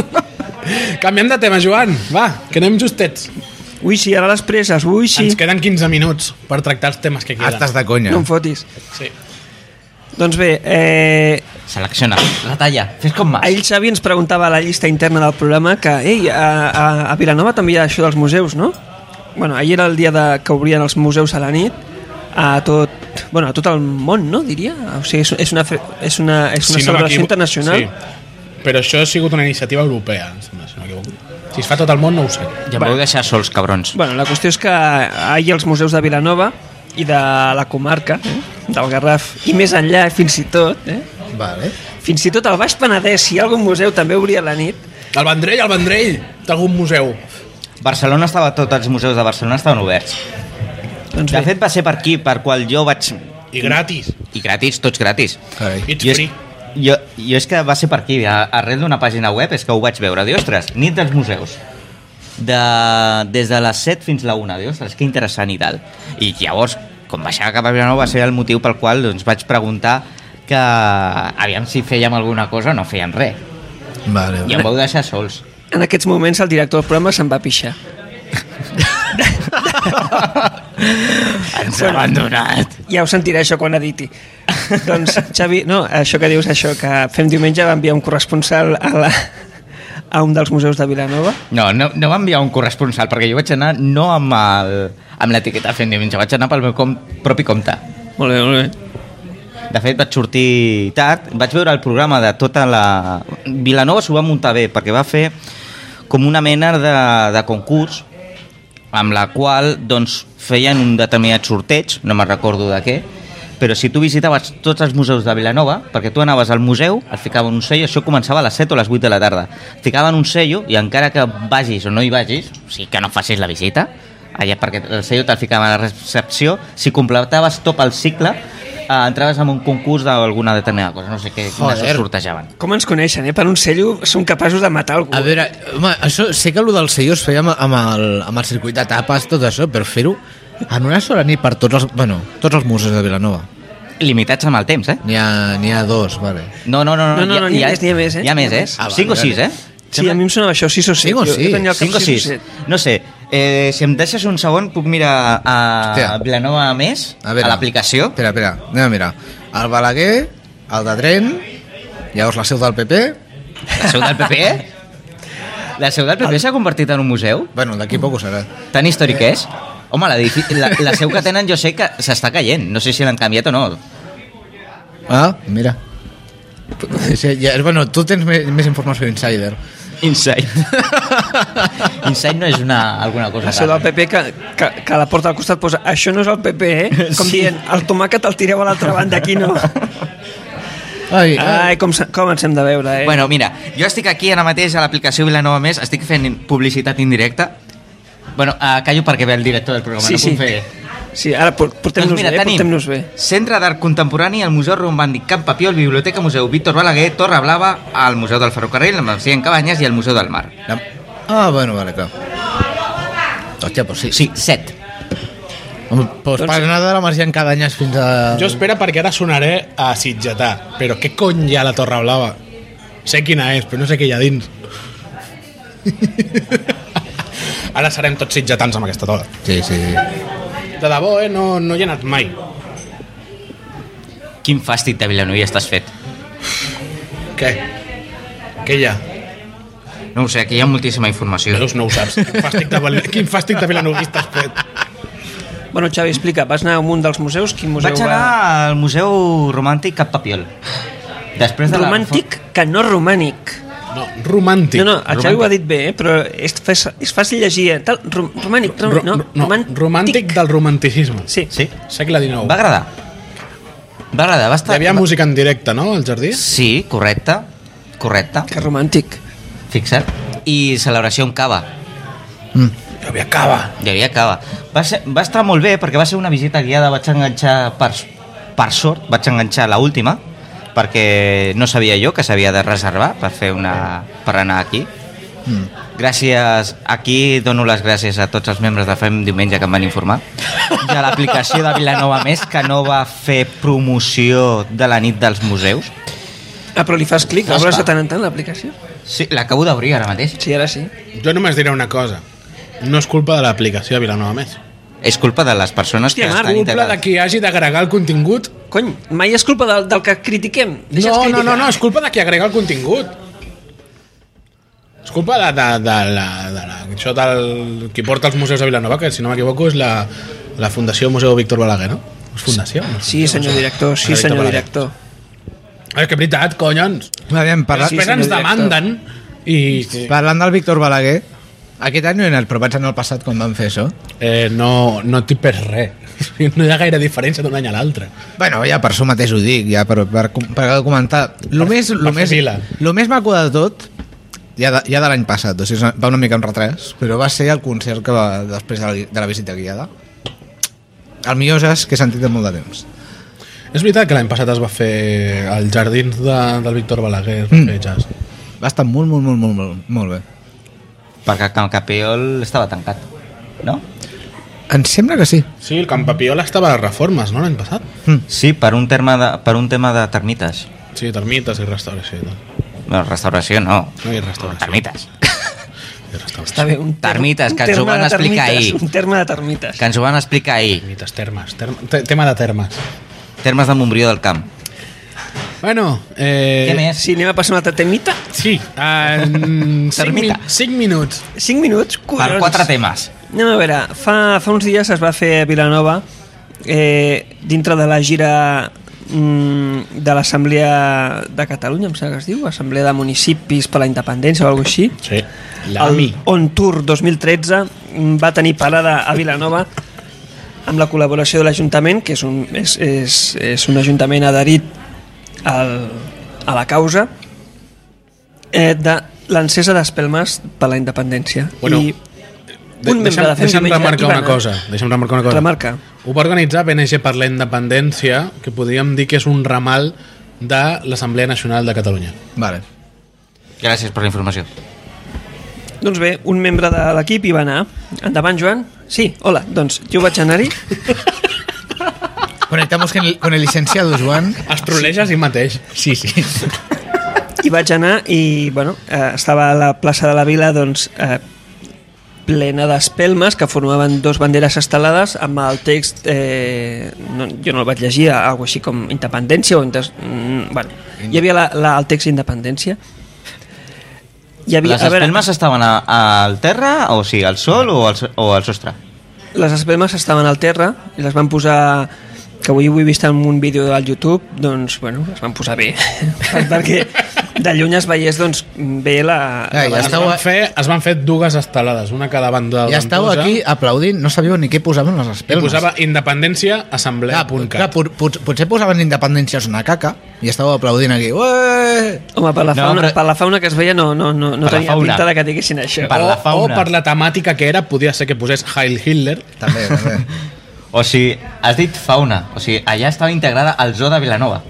S1: Canviem de tema, Joan. Va, que anem justets.
S4: Ui, sí, ara les preses, ui, sí.
S1: Ens queden 15 minuts per tractar els temes que
S2: Ah,
S1: queden.
S2: estàs de conya.
S4: No em fotis.
S1: Sí.
S4: Doncs bé, eh,
S7: Selecciona, retalla, fes com mas.
S4: ahir el Xavi ens preguntava a la llista interna del programa que, ei, a, a, a Vilanova també hi ha això dels museus, no? Bueno, ahir era el dia de, que obrien els museus a la nit a tot, bueno, a tot el món, no, diria? O sigui, és, és una, fe- és una, és una celebració
S1: m'equivo-
S4: internacional.
S1: Sí. Però això ha sigut una iniciativa europea, em sembla, si no m'equivoco. Si es fa a tot el món, no ho sé.
S7: Ja em vau deixar sols, cabrons.
S4: Bueno, la qüestió és que ahir els museus de Vilanova i de la comarca, eh, del Garraf, i més enllà fins i tot, eh,
S2: Vale.
S4: fins i tot al Baix Penedès, si hi ha algun museu també obria a la nit,
S1: El Vendrell, el Vendrell, d'algun museu.
S7: Barcelona estava, tots els museus de Barcelona estaven oberts.
S4: doncs
S7: De
S4: bé,
S7: fet, va ser per aquí, per qual jo vaig...
S1: I gratis.
S7: I gratis, tots gratis.
S2: Carai.
S1: It's
S7: jo és,
S1: free.
S7: jo, jo és que va ser per aquí, a- arrel d'una pàgina web, és que ho vaig veure. Diu, ostres, nit dels museus. De, des de les 7 fins la 1. Diu, ostres, que interessant i tal. I llavors, com baixava cap a Vilanova, va ser el motiu pel qual doncs, vaig preguntar que aviam si fèiem alguna cosa o no fèiem res.
S2: Vale.
S7: I em vau deixar sols.
S4: en aquests moments el director del programa se'n va pixar.
S7: Ens ha abandonat.
S4: Ja ho sentiré això quan editi. doncs, Xavi, no, això que dius, això que fem diumenge va enviar un corresponsal a, la, a un dels museus de Vilanova.
S7: No, no, no va enviar un corresponsal, perquè jo vaig anar no amb, el, amb l'etiqueta fent diumenge, vaig anar pel meu com, propi compte.
S4: Molt bé, molt bé.
S7: De fet, vaig sortir tard, vaig veure el programa de tota la... Vilanova s'ho va muntar bé, perquè va fer com una mena de, de concurs amb la qual doncs, feien un determinat sorteig, no me'n recordo de què, però si tu visitaves tots els museus de Vilanova, perquè tu anaves al museu, et ficaven un sello, això començava a les 7 o les 8 de la tarda, et ficaven un sello i encara que vagis o no hi vagis, o sigui que no facis la visita, allà perquè el sello te'l ficaven a la recepció, si completaves tot el cicle, eh, entraves en un concurs d'alguna determinada cosa, no sé què, quines
S2: Joder.
S7: us sortejaven.
S4: Com ens coneixen, eh? Per un cello som capaços de matar algú.
S2: A veure, home, això, sé que el del sello es feia amb, amb, el, amb el circuit de tapes, tot això, però fer-ho en una sola nit per tots els, bueno, tots els museus de Vilanova.
S7: Limitats amb el temps, eh?
S2: N'hi ha, n'hi ha dos, vale.
S7: No, no, no,
S4: No, no, no, n'hi ha més, n'hi ha més, eh?
S7: Hi ha més, eh?
S2: Ah, vale,
S7: 5 o
S2: vale.
S7: 6, eh?
S4: Sí, a mi em sonava això, 6 o 7.
S2: Cinc o
S4: Jo-
S2: sis,
S4: Jo, tenia el cap
S7: 5 o 6.
S4: o 7.
S7: No sé, eh, si em deixes un segon puc mirar a
S2: Hòstia.
S7: Vilanova a més, a, a l'aplicació.
S2: Espera, espera, anem a mirar. El Balaguer, el de Tren, llavors la seu del PP,
S7: La seu del PP, eh? La seu del PP s'ha convertit en un museu?
S2: bueno, d'aquí poc ho serà.
S7: Tan històric és? Home, la, la, la seu que tenen jo sé que s'està caient. No sé si l'han canviat o no.
S2: Ah, mira. Sí, ja, bueno, tu tens més, més informació insider.
S7: Insight. Insight no és una, alguna cosa
S4: Això del PP que, que, que a la porta al costat posa això no és el PP, eh? Com
S7: Sí.
S4: sí. dient, el tomàquet el tireu a l'altra banda, aquí no.
S2: Ai,
S4: Ai, com, se- com ens hem de veure, eh?
S7: Bueno, mira, jo estic aquí ara mateix a l'aplicació Vilanova Més, estic fent publicitat indirecta. Bueno, uh, callo perquè ve el director del programa,
S4: sí,
S7: no
S4: sí.
S7: puc fer... Doncs
S4: Sí, ara por-
S1: Doncs
S4: portem-nos bé, portem-nos bé.
S7: Centre d'Art Contemporani, el Museu Romàndic Can Papiol, Biblioteca Museu Víctor Balaguer, Torre Blava, el Museu del Ferrocarril, el Mercè en Cabanyes i el Museu del Mar.
S2: La... Ah, bueno, vale, clar. Hòstia, pues sí.
S7: Sí, set.
S2: Home, Pues doncs... per anar de la Marcià en cada any fins a...
S1: Jo espera perquè ara sonaré a Sitgetà, però què cony hi ha a la Torre Blava? Sé quina és, però no sé què hi ha dins. ara serem tots sitgetans amb aquesta torre.
S2: Sí, sí. sí.
S1: De debò, eh? No, no hi he anat mai.
S7: Quin fàstic de Vilanovia estàs fet.
S1: Què? Què hi ha?
S7: No ho sé, aquí hi ha moltíssima informació.
S1: Veus, no ho saps. Quin fàstic de, Val- quin fàstic de Vilanoguista has fet.
S4: Bueno, Xavi, explica, vas anar a un dels museus? Quin museu
S7: Vaig anar al Museu Romàntic Cap Papiol. Després
S4: va?
S7: de
S4: Romàntic, que no romànic.
S1: No, romàntic.
S4: No, no, el Xavi ho ha dit bé, eh? però és, fàcil- és fàcil llegir. eh? Tal, rom, romànic, rom,
S1: Ro-
S4: no,
S1: no, romàntic del romanticisme.
S4: Sí.
S7: Sí?
S1: Segle
S4: Oh.
S1: XIX.
S7: Va agradar. Va agradar, va
S1: Hi
S7: estar...
S1: havia
S7: va-
S1: música en directe, no, al jardí?
S7: Sí, correcte. Correcte.
S4: Que romàntic.
S7: Fixa't. I celebració amb cava.
S1: Hi havia cava.
S7: Hi havia cava. Va, ser, va estar molt bé perquè va ser una visita guiada, vaig enganxar per, s- per sort, vaig enganxar la última perquè no sabia jo que s'havia de reservar per fer una per anar aquí. Gràcies, aquí dono les gràcies a tots els membres de FEM diumenge que em van informar i a l'aplicació de Vilanova Més que no va fer promoció de la nit dels museus.
S4: Ah, però li fas clic,
S7: Ja
S4: l'obres
S7: està.
S4: de tant en tant, l'aplicació?
S7: Sí, l'acabo d'obrir ara mateix.
S4: Sí, ara sí.
S1: Jo només diré una cosa. No és culpa de l'aplicació de Vilanova més.
S7: És culpa de les persones
S4: Hòstia,
S7: que
S4: Marc,
S7: estan
S1: Culpa de
S7: integrades.
S1: qui hagi d'agregar el contingut?
S4: Cony, mai és culpa del, del que critiquem. Deixa'ns
S1: No, no,
S4: criticar.
S1: no, no, és culpa de qui agrega el contingut. És culpa de, de, de, la, de la, això del, qui porta els museus a Vilanova, que si no m'equivoco és la, la Fundació Museu Víctor Balaguer, no? És fundació? No?
S4: Sí,
S7: doncs,
S4: senyor director, sí,
S1: Director
S4: senyor
S1: Balaguer.
S4: director.
S1: És que és veritat, collons.
S2: Aviam, parla...
S4: Sí,
S1: Després
S4: senyor
S1: ens
S4: director.
S1: demanden i... Sí.
S2: Parlant del Víctor Balaguer, aquest any no he anat, però vaig anar al passat quan van fer això.
S1: Eh, no, no t'hi perds res. No hi ha gaire diferència d'un any a l'altre.
S2: Bueno, ja per això mateix ho dic, ja per, per, com- per comentar. Lo més, lo,
S1: per fer
S2: més,
S1: fila.
S2: lo més maco de tot, ja de, ja de l'any passat, o sigui, és una- va una mica en retràs, però va ser el concert que va després de la, gui- de la visita guiada. El millor és que he sentit de molt de temps.
S1: És veritat que l'any passat es va fer als jardins de, del Víctor Balaguer,
S2: Mm.
S1: mm. jazz.
S2: Va estar molt, molt, molt, molt, molt, molt bé.
S7: Perquè el Capiol estava tancat, no?
S2: Em sembla que sí.
S1: Sí, el Camp Papiola estava a les reformes, no, l'any passat?
S7: Sí, per un, terme de, per un tema de termites.
S1: Sí, termites i restauració i tal.
S7: Bueno, restauració no.
S1: No hi ha restauració.
S7: Termites.
S1: Hi ha restauració.
S4: Està bé, un terme-
S7: Termites,
S4: un
S7: que ens ho
S4: terme
S7: van
S4: de
S7: explicar
S4: termites,
S7: ahir.
S4: Un terme de termites.
S7: Que ens ho van explicar ahir.
S1: Termites, termes, term te tema de termes.
S7: Termes de Montbrió del Camp.
S1: Bueno, eh...
S7: Què més?
S4: Sí, anem a passar un altre temita.
S1: Sí, en 5, min
S7: Termita.
S1: 5 minuts.
S4: 5 minuts,
S7: Per
S4: collons.
S7: quatre temes.
S4: Anem a veure, fa, fa uns dies es va fer a Vilanova, eh, dintre de la gira mm, de l'Assemblea de Catalunya, em sembla que es diu, Assemblea de Municipis per la Independència o alguna així.
S1: Sí,
S4: El On Tour 2013 mm, va tenir parada a Vilanova amb la col·laboració de l'Ajuntament, que és un, és, és, és un ajuntament adherit al, a la causa, eh, de l'encesa d'espelmes per la independència.
S1: Bueno,
S4: I
S1: De
S4: un membre
S1: deixa'm,
S4: de Fem
S1: deixa'm
S4: Diumenge
S1: remarcar
S4: hi va
S1: una
S4: anar.
S1: cosa. Deixa'm remarcar una cosa.
S4: Remarca.
S1: Ho va organitzar BNG per la independència, que podríem dir que és un ramal de l'Assemblea Nacional de Catalunya.
S2: Vale.
S7: Gràcies per la informació.
S4: Doncs bé, un membre de l'equip hi va anar. Endavant, Joan. Sí, hola, doncs jo vaig anar-hi.
S2: Conectamos con el, con el licenciado Joan.
S1: Es troleja a si mateix. Sí, sí.
S4: I vaig anar i, bueno, eh, estava a la plaça de la Vila, doncs, eh, plena d'espelmes que formaven dos banderes estelades amb el text, eh, no, jo no el vaig llegir, alguna així com independència o... Indes, mm, bueno, hi havia la, la, el text independència. Hi
S7: Les
S4: a veure,
S7: espelmes estaven a- al terra, o sigui, al sol o al, so- o al sostre?
S4: les espelmes estaven al terra i les van posar que avui ho he vist en un vídeo del YouTube, doncs, bueno, es van posar bé, perquè de lluny es veiés, doncs, bé la...
S2: Ah,
S4: la
S2: ja
S1: Es
S2: estàveu-
S1: van, fer, es van fer dues estelades, una a cada banda. de
S2: Ja estàveu
S1: l'Ampolla,
S2: aquí aplaudint, no sabíeu ni què posaven les
S1: I
S2: espelmes.
S1: posava independència, assemblea,
S2: Clar, pot,
S1: punt
S2: clar, pot, pot, potser posaven independència és una caca i estàveu aplaudint aquí. Ué!
S4: Home, per la,
S7: No,
S4: fauna,
S7: però-
S4: per la fauna que es veia no, no, no, no
S7: Per la
S4: tenia
S7: fauna.
S4: pinta de que diguessin això.
S7: Per
S1: o,
S7: la fauna.
S1: o per la temàtica que era, podia ser que posés Heil Hitler.
S2: També, també.
S7: O sigui, has dit fauna. O sigui, allà estava integrada al zoo de Vilanova.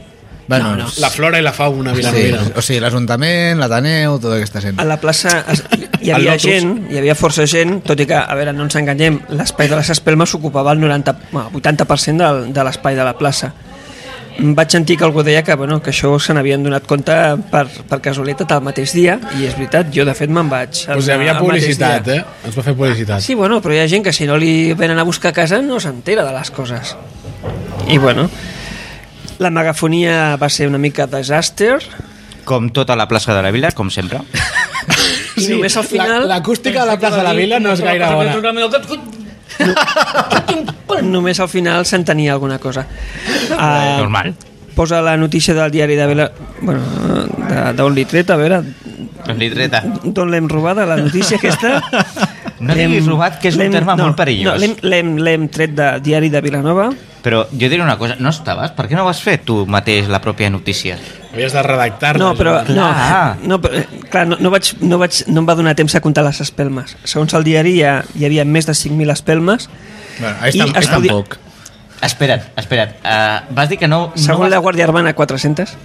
S2: bueno, no,
S1: La flora i la fauna,
S2: Sí,
S1: Vilanovina.
S2: o sigui, l'Ajuntament, l'Ateneu, tota aquesta gent.
S4: A la plaça es, hi havia
S1: El Lotus.
S4: gent, hi havia força gent, tot i que, a veure, no ens enganyem, l'espai de les espelmes ocupava el 90, bueno, 80% del, de l'espai de la plaça. Vaig sentir que algú deia que, bueno, que això se n'havien donat compte per, per casualitat el mateix dia, i és veritat, jo de fet me'n vaig.
S1: Pues hi
S4: el-
S1: havia
S4: el mateix
S1: publicitat,
S4: dia.
S1: eh? Ens va fer publicitat.
S4: Sí, bueno, però hi ha gent que si no li venen a buscar a casa no s'entera de les coses. I bueno, la megafonia va ser una mica desastre,
S7: Com tota la plaça de la vila, com sempre.
S4: i sí, només al final...
S1: la- l'acústica de la plaça de la Vila no és gaire bona.
S4: Només al final s'entenia alguna cosa. Uh,
S7: normal.
S4: Posa la notícia del diari de Vela... Bueno, de- d'on l'he tret, a veure...
S7: Doncs li treta.
S4: D'on l'hem robada, la notícia aquesta?
S7: No
S4: L'hem-
S7: diguis robat, que és un
S4: l'hem-
S7: terme molt perillós.
S4: No, l'hem- l'hem- l'hem tret de diari de Vilanova.
S7: Però jo diré una cosa, no estaves? Per què no vas fer tu mateix la pròpia notícia?
S1: Havies de redactar
S4: No, però, no,
S7: Clar.
S4: no, però eh, clar, no, no, vaig, no, vaig, no em va donar temps a comptar les espelmes. Segons el diari hi, ha, hi havia més de 5.000 espelmes.
S2: Bueno, és,
S4: I
S2: tam és
S4: estudi-
S2: tampoc.
S7: Espera't, espera't. Uh, vas dir que no...
S4: Segons
S7: no
S4: la
S7: vas...
S4: Guàrdia Urbana, 400.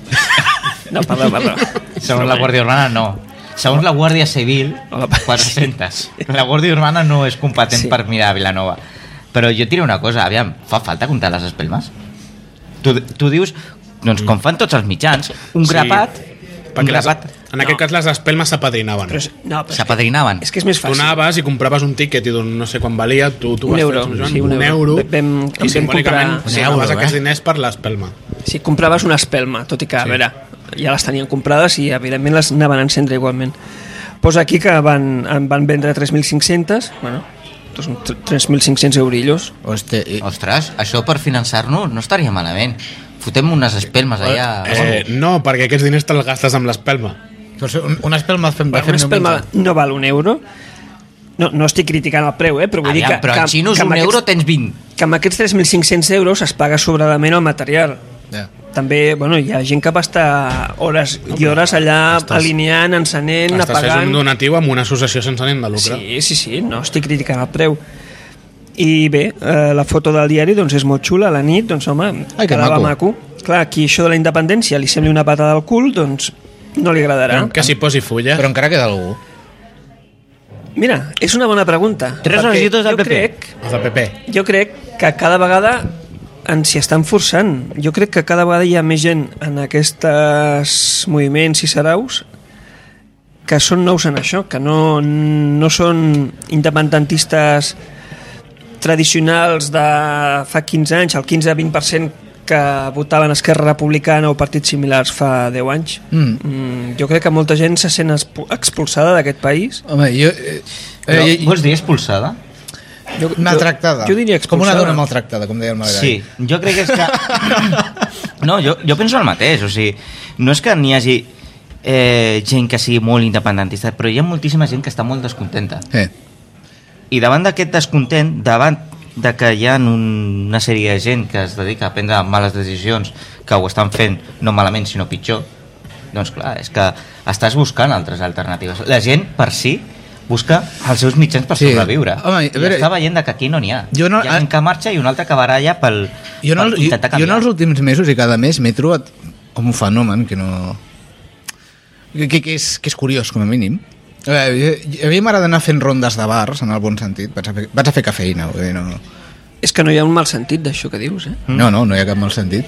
S4: No, perdó, perdó.
S7: Segons la Guàrdia Urbana, no. Segons la Guàrdia Civil,
S4: Hola, pa-
S7: 400. La Guàrdia Urbana no és competent
S4: Sí.
S7: per mirar a Vilanova. Però jo et diré una cosa, aviam, fa falta comptar les espelmes? Tu, tu dius, doncs com fan tots els mitjans, un
S1: Sí.
S7: grapat, un
S1: Perquè les,
S7: grapat,
S1: en aquest cas les espelmes s'apadrinaven.
S4: Però és, no, però és que-
S7: s'apadrinaven.
S4: És que és més fàcil.
S1: Donaves i compraves un tíquet i doncs no sé quan valia, tu, tu
S4: Un
S1: vas
S4: euro,
S1: transformant
S4: sí, un
S1: un
S4: euro.
S1: euro
S4: Vam-
S1: i
S4: vam
S1: simbòlicament
S4: comprar-
S1: sí,
S2: Un euro,
S1: anaves a
S2: eh?
S1: aquests diners per l'espelma.
S4: Si compraves una espelma, tot i que, a veure, ja les tenien comprades i, evidentment, les anaven a encendre igualment. Posa aquí que van, en van vendre 3.500, bueno, dos- 3.500 eurillos.
S2: Hosti, i,
S7: Ostres, això per finançar-nos no estaria malament. Fotem unes espelmes allà...
S4: Ah,
S1: Eh, no, perquè aquests diners te'ls gastes amb l'espelma.
S2: Doncs un- una espelma fem,
S4: Bueno,
S2: fem
S4: una espelma
S2: diumenge.
S4: no val un euro. No, no estic criticant el preu, eh? però vull
S7: Aviam,
S4: dir que,
S7: però
S4: que,
S7: en xinos
S4: que,
S7: un
S4: amb
S7: euro
S4: aquests,
S7: tens 20.
S4: que amb aquests 3.500 euros es paga sobradament el material.
S2: Ja.
S4: També bueno, hi ha gent que va estar hores i hores allà alineant, encenent,
S1: Estàs fent
S4: apagant...
S1: un donatiu amb una associació sense ànim de lucre.
S4: Sí, sí, sí, no estic criticant el preu. I bé, eh, la foto del diari doncs, és molt xula, a la nit, doncs home,
S2: Ai, que
S4: quedava
S2: maco.
S4: maco. Clar, qui això de la independència li sembli una patada al cul, doncs no li agradarà.
S1: Que s'hi posi fulla.
S2: Però encara queda algú.
S4: Mira, és una bona pregunta.
S7: Tres
S4: perquè
S7: necessites del
S4: jo
S7: PP.
S4: crec,
S1: Els de PP.
S4: jo crec que cada vegada ens hi estan forçant. Jo crec que cada vegada hi ha més gent en aquests moviments i saraus que són nous en això, que no, no són independentistes tradicionals de fa 15 anys, el 15-20% que votaven Esquerra Republicana o partits similars fa 10 anys.
S2: Mm.
S4: Mm, jo crec que molta gent se sent expu- expulsada d'aquest país.
S2: Home, jo... Eh,
S7: Però,
S2: eh,
S7: vols dir expulsada?
S2: jo, maltractada.
S4: jo diria
S2: Com una
S4: expulsada.
S2: dona maltractada, com deia el Maragall.
S7: Sí, jo crec que és que... No, jo, jo penso el mateix, o sigui, no és que n'hi hagi eh, gent que sigui molt independentista, però hi ha moltíssima gent que està molt descontenta.
S2: Eh.
S7: I davant d'aquest descontent, davant de que hi ha un, una sèrie de gent que es dedica a prendre males decisions, que ho estan fent no malament sinó pitjor, doncs clar, és que estàs buscant altres alternatives. La gent per si busca els seus mitjans per
S2: Sí.
S7: sobreviure.
S2: Home, a
S7: I
S2: veure-
S7: està veient de que aquí no n'hi ha.
S2: Jo no-
S7: hi ha gent que marxa i un altre que baralla pel,
S2: Jo, no,
S7: per
S2: jo,
S7: intentar
S2: jo en
S7: canviar.
S2: els últims mesos i cada mes m'he trobat com un fenomen que no... Que, que, que, és, que és curiós, com a mínim. A, veure, jo- a mi m'agrada anar fent rondes de bars, en el bon sentit. Vaig a fer, vaig a fer cafeïna, vull dir, no...
S4: És que no hi ha un mal sentit d'això que dius, eh?
S7: Mm.
S2: No, no, no hi ha cap mal sentit.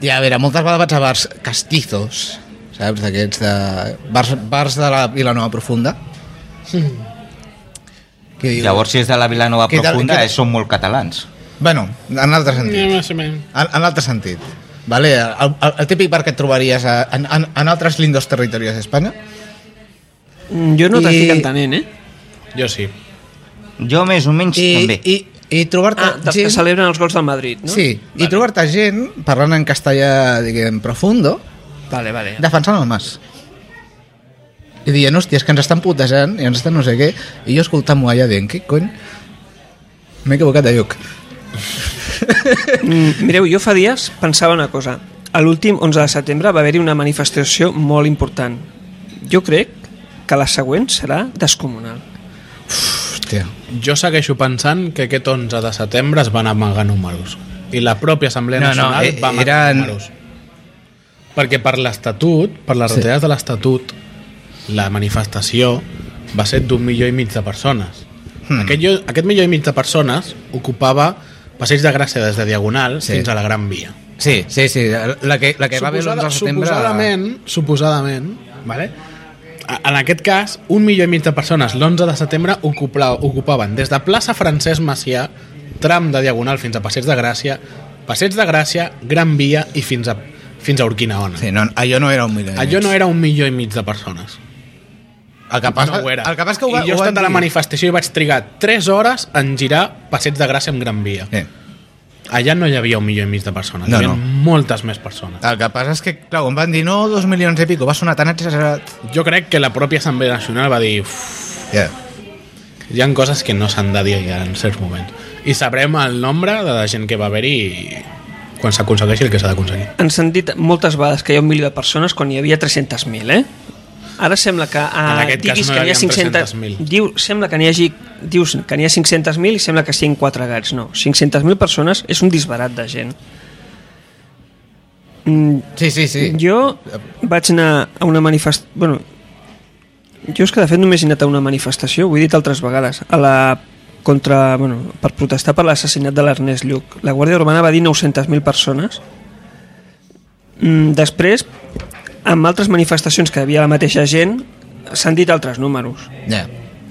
S2: I a veure, moltes vegades vaig a bars castizos, saps, d'aquests de... Bars, bars de la Vilanova Profunda. Que diu...
S7: Llavors, si és de la Vilanova
S2: Què tal-
S7: Profunda,
S2: què tal-
S7: eh, són molt catalans.
S2: Bueno, en l'altre sentit. En, en l'altre sentit. Vale, el, el, el típic bar que et trobaries a, en, en, en altres lindos territoris d'Espanya.
S4: Mm, Jo no
S2: I-
S4: t'estic entenent, eh?
S1: Jo sí.
S7: Jo més o menys
S2: I,
S7: també.
S2: i, I trobar-te
S4: Ah, dels que
S2: gent...
S4: celebren els gols del Madrid, no?
S2: Sí, i
S4: Vale.
S2: trobar-te gent parlant en castellà, diguem, profundo,
S4: Vale, vale.
S2: defensant el Mas. I dient, hòstia, és que ens estan putejant i ens estan no sé què, i jo escoltant-m'ho allà dient, què cony? M'he equivocat de lloc.
S4: Mm, Mireu, jo fa dies pensava una cosa. A l'últim 11 de setembre va haver-hi una manifestació molt important. Jo crec que la següent serà descomunal.
S2: Hòstia.
S1: Jo segueixo pensant que aquest 11 de setembre es van amagar números i la pròpia Assemblea
S2: No, no,
S1: Nacional
S2: eh,
S1: va amagar
S2: eren-
S1: números. Perquè per l'Estatut, per les
S2: Sí.
S1: retallades de l'Estatut, la manifestació va ser d'un milió i mig de persones.
S2: Hmm.
S1: Aquest, jo- aquest milió i mig de persones ocupava passeig de Gràcia des de Diagonal
S2: Sí.
S1: fins a la Gran Via.
S2: Sí, sí, sí, la que, la que va haver l'11
S1: Suposada-
S2: de setembre...
S1: Suposadament, suposadament, vale? A- en aquest cas, un milió i mig de persones l'11 de setembre ocupla, ocupaven des de plaça Francesc Macià, tram de Diagonal fins a Passeig de Gràcia, Passeig de Gràcia, Gran Via i fins a, fins a Urquinaona.
S2: Sí, no, allò no era un milió. i
S1: Allò
S2: mig.
S1: no era un milió i mig de persones.
S2: El que passa,
S1: no ho era.
S2: El que passa que ho, va-
S1: I jo he
S2: ho van
S1: estat a la
S2: dir.
S1: manifestació i vaig trigar 3 hores en girar Passeig de Gràcia amb Gran Via.
S2: Sí.
S1: Allà no hi havia un milió i mig de persones,
S2: No,
S1: hi havia
S2: no.
S1: moltes més persones.
S2: El que passa és que, clar, em van dir, no, dos milions i pico, va sonar tan exagerat.
S1: Jo crec que la pròpia Assemblea Nacional va dir "Uf,
S2: Yeah.
S1: hi han coses que no s'han de dir ja en certs moments. I sabrem el nombre de la gent que va haver-hi i quan s'aconsegueixi el que s'ha d'aconseguir.
S4: Ens han dit moltes vegades que hi ha un milió de persones quan hi havia 300.000, eh? Ara sembla que
S1: En
S4: ah,
S1: aquest cas
S4: diguis
S1: no
S4: que
S1: hi
S4: n'hi ha
S1: havien
S4: 500...
S1: 300.000.
S4: Diu, sembla que n'hi hagi... Dius que n'hi ha 500.000 i sembla que siguin 4 gats. No, 500.000 persones és un disbarat de gent. Mm,
S2: Sí, sí, sí.
S4: Jo vaig anar a una manifestació... Bueno, jo és que de fet només he anat a una manifestació, ho he dit altres vegades, a la contra, bueno, per protestar per l'assassinat de l'Ernest Lluc. La Guàrdia Urbana va dir 900.000 persones. Mm, després, amb altres manifestacions que hi havia la mateixa gent, s'han dit altres números.
S2: Yeah.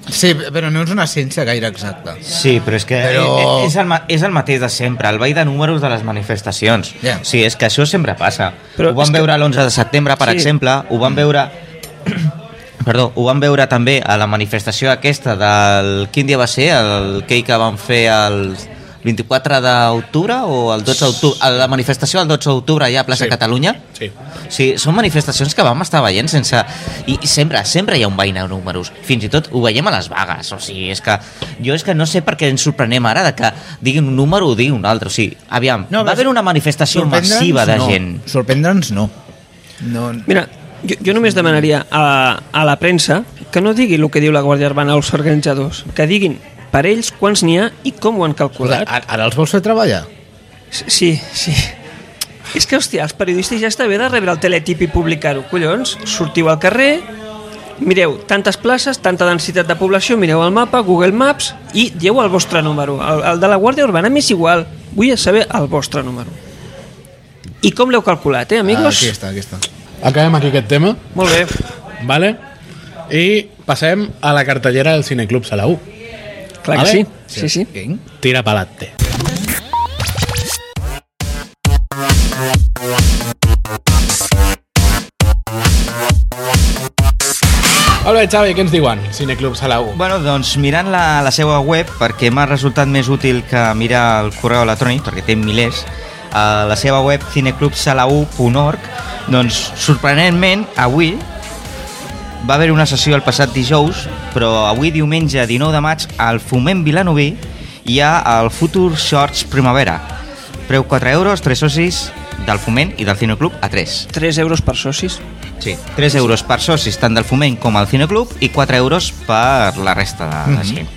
S2: Sí, però no és una ciència gaire exacta.
S7: Sí, però és que
S2: Però-
S7: eh, és, el, ma- és el mateix de sempre, el ball de números de les manifestacions.
S2: Ja.
S7: Sí, és que això sempre passa.
S4: Però
S7: Però ho
S4: és
S7: vam
S4: que-
S7: veure l'11 de setembre, per
S4: Sí.
S7: sí. exemple, ho vam veure... Perdó, ho vam veure també a la manifestació aquesta del... Quin dia va ser? El que que van fer el 24 d'octubre o el 12 d'octubre? A La manifestació el 12 d'octubre ja a plaça
S1: Sí.
S7: sí. Catalunya?
S1: Sí.
S7: Sí, són manifestacions que vam estar veient sense... I i sempre, sempre hi ha un veïn a números. Fins i tot ho veiem a les vagues. O sigui, és que... Jo és que no sé per què ens sorprenem ara de que diguin un número o diguin un altre. O sigui, aviam,
S2: No,
S7: no, va
S2: però
S7: haver una manifestació
S2: Sorprendre'ns,
S7: massiva de
S2: no.
S7: gent.
S2: Sorprendre'ns, no. No,
S4: Mira, jo, jo només demanaria a, a la premsa que no digui el que diu la Guàrdia Urbana als organitzadors, que diguin per ells quants n'hi ha i com ho han calculat.
S2: ara, ara els vols fer treballar?
S4: Sí, sí. És que, hòstia, els periodistes ja està bé de rebre el teletip i publicar-ho, collons. Sortiu al carrer, mireu tantes places, tanta densitat de població, mireu el mapa, Google Maps, i dieu el vostre número. El, el de la Guàrdia Urbana m'és igual, vull saber el vostre número. I com l'heu calculat, eh, amigos?
S2: Ah, aquí està, aquí està.
S1: Acabem aquí aquest tema,
S4: Molt bé.
S1: vale? i passem a la cartellera del Cineclub Salau.
S4: Clar
S1: Vale.
S4: que sí. Sí, sí.
S2: Vinc.
S1: Tira palatte. Molt bé, Xavi, què ens diuen? Cineclub Salau.
S7: Bueno, doncs mirant la, la seva web, perquè m'ha resultat més útil que mirar el correu electrònic, perquè té milers, a la seva web cineclubsalau.org, doncs sorprenentment, avui va haver una sessió el passat dijous, però avui diumenge 19 de maig al Foment Vilanoví hi ha el Future Shorts Primavera. Preu 4 euros, 3 socis del Foment i del Cineclub a 3.
S4: 3 euros per socis.
S7: Sí, 3 euros per socis tant del Foment com al Cineclub i 4 euros per la resta de, de gent.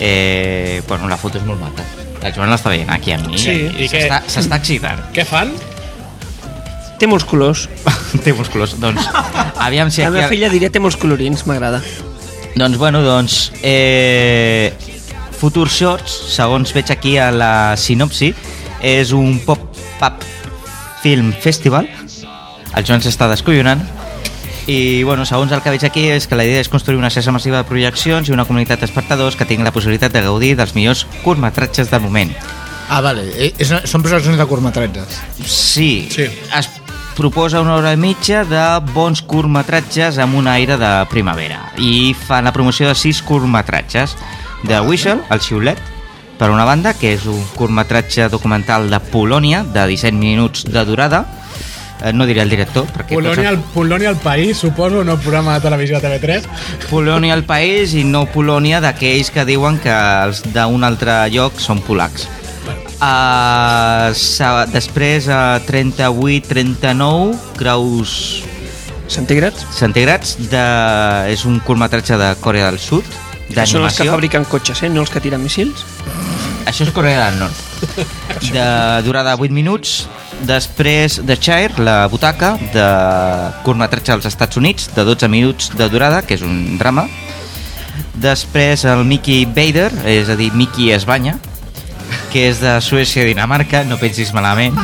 S7: Eh, bueno, la foto és molt maca. La Joan l'està veient aquí a mi.
S1: Sí,
S7: i
S1: i què?
S7: s'està- S'està excitant.
S1: Què fan?
S4: Té molts colors.
S7: Té molts colors. Doncs, aviam si
S4: La
S7: aquí...
S4: meva filla diria té molts colorins, m'agrada.
S7: Doncs, bueno, doncs... Eh, Future Shorts, segons veig aquí a la sinopsi, és un pop-up film festival. El Joan s'està descollonant. I, bueno, segons el que veig aquí és que la idea és construir una cesta massiva de projeccions i una comunitat d'espectadors que tinguin la possibilitat de gaudir dels millors curtmetratges del moment.
S2: Ah, vale. Eh, És una, són projeccions de curtmetratges.
S7: Sí,
S1: Sí.
S7: es proposa una hora i mitja de bons curtmetratges amb un aire de primavera i fan la promoció de sis curtmetratges de Whistle, el xiulet, per una banda, que és un curtmetratge documental de Polònia, de 17 minuts de durada. Eh, No diré el director, perquè...
S1: Polònia al, Polònia al País, suposo, no programa de televisió de TV3.
S7: Polònia al país i no Polònia d'aquells que diuen que els d'un altre lloc són polacs. Uh, sa, després a 38-39 graus
S4: Centígrads?
S7: centígrads de, és un curtmetratge de Corea del Sud
S4: Que són els que
S7: d'animació.
S4: fabriquen cotxes, eh? no els que tiren missils.
S7: Això és Corea del Nord. De durada 8 minuts. Després de Chair, la butaca, de curtmetratge als Estats Units, de 12 minuts de durada, que és un drama. Després el Mickey Bader, és a dir, Mickey es banya, que és de Suècia i Dinamarca, no pensis malament.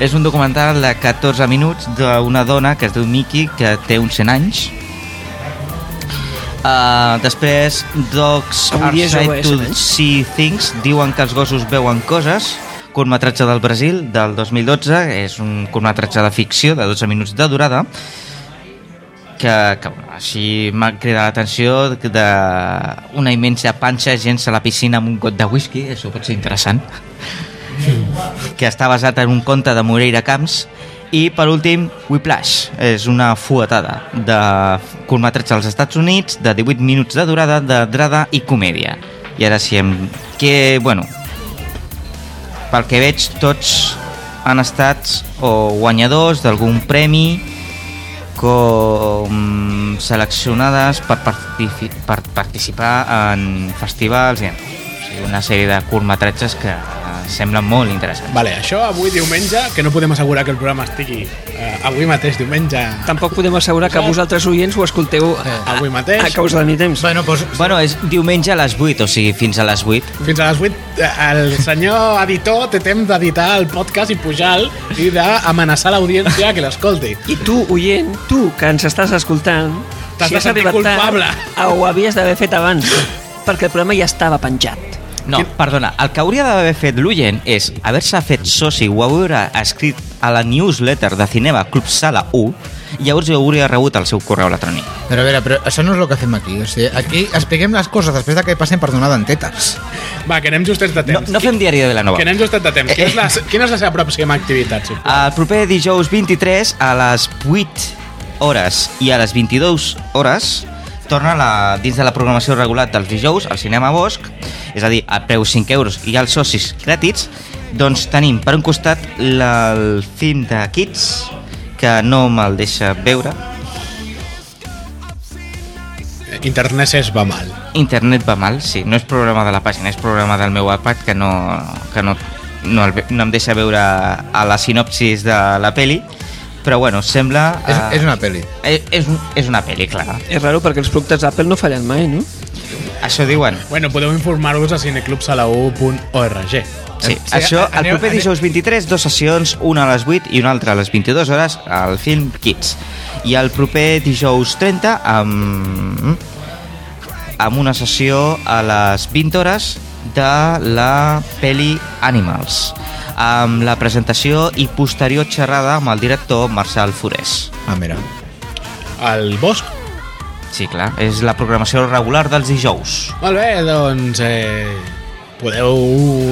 S7: És un documental de 14 minuts d'una dona que es diu Mickey, que té uns 100 anys. Uh, després, Dogs
S4: Avui
S7: Are
S4: és
S7: Said
S4: OS,
S7: to
S4: eh?
S7: See Things, diuen que els gossos veuen coses, curtmetratge del Brasil del 2012, és un curtmetratge de ficció de 12 minuts de durada, que, que bueno, així m'ha cridat l'atenció d'una immensa panxa gens a la piscina amb un got de whisky, això pot ser interessant que està basat en un conte de Moreira Camps i per últim Whiplash és una fuetada de curtmetratge als Estats Units de 18 minuts de durada, de drada i comèdia i ara sí em... que, bueno pel que veig tots han estat o guanyadors d'algun premi com seleccionades per, partifi- per participar en festivals i en- o sigui, una sèrie de curtmetratges que eh, semblen molt interessants.
S1: Vale, això avui diumenge, que no podem assegurar que el programa estigui eh, avui mateix diumenge.
S4: Tampoc podem assegurar que vosaltres oients ho escolteu a,
S1: Avui mateix.
S4: a causa de mi temps.
S2: Bueno, doncs...
S7: Bueno, és diumenge a les 8, o sigui, fins a les 8.
S1: Fins a les 8, eh, el senyor editor té temps d'editar el podcast i pujar-lo i d'amenaçar l'audiència que l'escolti.
S4: I tu, oient, tu que ens estàs escoltant,
S1: T'has de
S4: has
S1: sentir
S4: arribat
S1: culpable.
S4: tard, ho havies d'haver fet abans, perquè el programa ja estava penjat.
S7: No, perdona, el que hauria d'haver fet l'Ugen és haver-se fet soci o haver escrit a la newsletter de Cinema Club Sala 1 i llavors hi hauria rebut el seu correu electrònic.
S2: Però a veure, però això no és el que fem aquí. O sigui, aquí expliquem les coses després de que passen per donar dentetes.
S1: Va, que anem justets de
S7: No, Eh.
S1: temps.
S7: no fem diari de
S1: Que
S7: Vilanova.
S1: anem justets de temps. Quina és la, quina és la seva pròxima activitat? Sí?
S7: El proper dijous 23 a les 8 hores i a les 22 hores torna la, dins de la programació regular dels dijous al Cinema Bosch, és a dir, a preus 5 euros i als socis gràtits, doncs tenim per un costat la, el film de Kids, que no me'l deixa veure,
S1: Internet es va mal.
S7: internet va mal, sí, no és programa de la pàgina, és programa del meu iPad que no, que no, no, el, ve- no em deixa veure a la sinopsis de la peli, però bueno, sembla...
S2: És,
S7: eh,
S2: és una pel·li.
S7: Eh, És, un- és una pel·li, clar.
S4: És raro perquè els productes d'Apple no fallen mai, no?
S7: Això diuen.
S1: Bueno, podeu informar-vos a cineclubsala1.org. Eh,
S7: Sí,
S2: Sí,
S7: això
S2: aneu-
S7: el proper
S2: aneu-
S7: dijous 23, dues sessions, una a les 8 i una altra a les 22 hores al film Kids. I el proper dijous 30 amb, amb una sessió a les 20 hores de la peli Animals amb la presentació i posterior xerrada amb el director Marcel Forés.
S2: Ah, mira.
S1: Al bosc.
S7: Sí, clar, és la programació regular dels dijous.
S1: Molt bé, doncs... Eh, podeu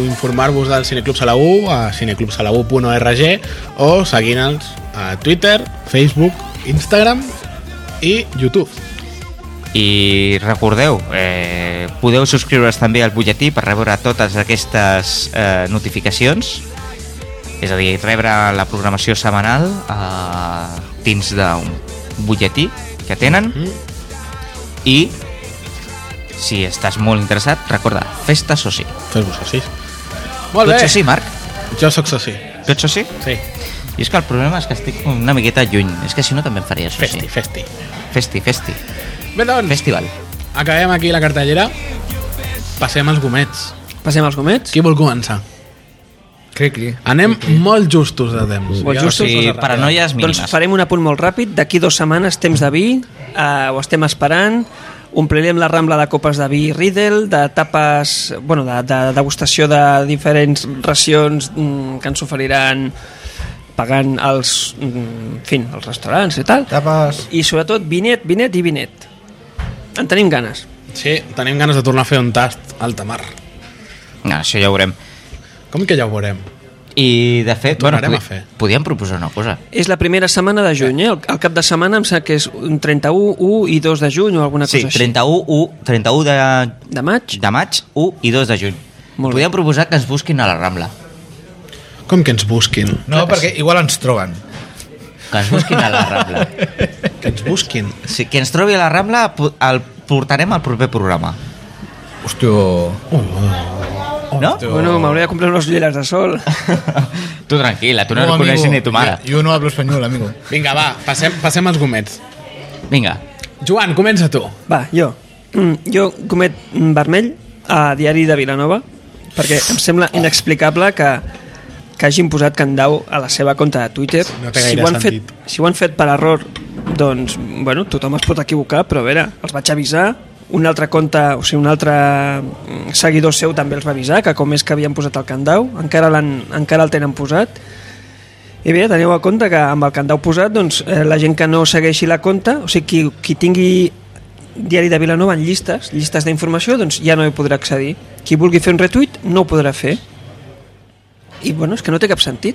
S1: informar-vos del Cineclub Sala 1 a cineclubsala1.org o seguint-nos a Twitter, Facebook, Instagram i YouTube.
S7: I recordeu, eh, podeu subscriure's també al butlletí per rebre totes aquestes eh, notificacions, és a dir, rebre la programació setmanal eh, dins d'un butlletí que tenen.
S1: Mhm.
S7: I, si estàs molt interessat, recorda, festa soci.
S1: Fes-vos socis.
S7: Tu
S1: Molt
S7: ets
S1: bé.
S7: soci, Marc?
S1: Jo sóc soci.
S7: Tu ets soci?
S1: Sí.
S7: I és que el problema és que estic una miqueta lluny. És que si no també em faria soci.
S1: Festi, festi.
S7: Festi, festi.
S1: Bé, doncs,
S7: Festival.
S1: acabem aquí la cartellera. Passem als gomets.
S4: Passem als gomets.
S1: Qui vol començar?
S2: Cri-cri.
S1: Anem molt justos de temps.
S4: Molt
S1: Ja,
S4: justos,
S1: o sigui,
S7: I paranoies mínimes.
S4: Doncs farem un apunt molt ràpid. D'aquí dues setmanes, temps de vi, eh, ho estem esperant. Omplirem la rambla de copes de vi Riddle, de tapes, bueno, de, de degustació de diferents racions mm, que ens oferiran pagant els, mm, en fi, els restaurants i tal.
S2: Tapes...
S4: I sobretot vinet, vinet i vinet. En tenim ganes.
S1: Sí, tenim ganes de tornar a fer un tast al tamar.
S7: No, això ja ho veurem.
S1: Com que ja ho veurem?
S7: I, de fet, bueno,
S1: Tornarem a
S7: podi-
S1: fer.
S7: podíem proposar una cosa.
S4: És la primera setmana de juny, eh? El, el cap de setmana em sembla que és un 31, 1 i 2 de juny o alguna
S7: Sí,
S4: cosa així.
S7: 31, 1, 31 de,
S4: De maig?
S7: de maig, 1 i 2 de juny.
S4: Molt bé.
S7: podíem proposar que ens busquin a la Rambla.
S1: Com que ens busquin?
S2: No, perquè igual ens troben.
S7: Que ens busquin a la Rambla.
S1: Que ens busquin.
S7: Sí, que ens trobi a la Rambla po- el portarem al proper programa.
S2: Hòstia...
S7: No?
S4: Bueno, m'hauré de comprar unes ulleres de sol.
S7: Tu tranquil·la, tu no, no
S2: amigo,
S7: coneixes ni tu mare.
S2: Yo, yo no hablo español, amigo.
S1: Vinga, va, passem, passem als gomets.
S7: Vinga,
S1: Joan, comença tu.
S4: Va, jo. Mm, jo comet mm, vermell a Diari de Vilanova perquè em sembla inexplicable que, que hagin posat Candau a la seva compte de Twitter.
S1: No té gaire
S4: ho han
S1: sentit.
S4: fet, si ho han fet per error, doncs, bueno, tothom es pot equivocar, però a veure, els vaig avisar, un altre compte, o sigui, un altre mm, seguidor seu també els va avisar que com és que havien posat el Candau, encara, l'han- encara el tenen posat, i bé, teniu a compte que amb el que en heu posat, doncs, eh, la gent que no segueixi la compte, o sigui, qui, qui tingui Diari de Vilanova en llistes, llistes d'informació, doncs ja no hi podrà accedir. Qui vulgui fer un retuit no ho podrà fer. I bueno, és que no té cap sentit.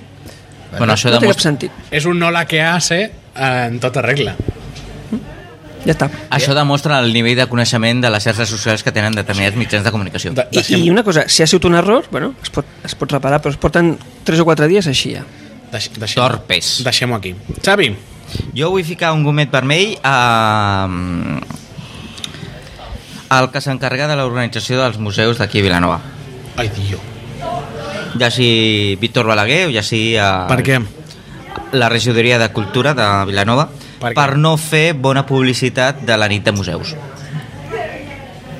S7: bueno, això
S4: No té cap
S7: demostra,
S4: sentit.
S1: És un hola que hace en tota regla.
S4: Ja està.
S7: això demostra el nivell de coneixement de les xarxes socials que tenen determinats mitjans de comunicació.
S1: De,
S4: I,
S1: deixem,
S4: I una cosa, si ha sigut un error, bueno, es pot, es pot reparar, però es porten 3 o 4 dies així ja.
S1: deix, deixem,
S7: Torpes.
S1: Deixem-ho aquí. Xavi,
S7: Jo vull ficar un gomet vermell a... mm, al que s'encarrega de l'organització dels museus d'aquí a Vilanova.
S1: ai, Dio.
S7: Ja sigui Víctor Balaguer o ja sigui... eh, A...
S1: Per què?
S7: La regidoria de Cultura de Vilanova
S1: Per què?
S7: per, no fer bona publicitat de la nit de museus.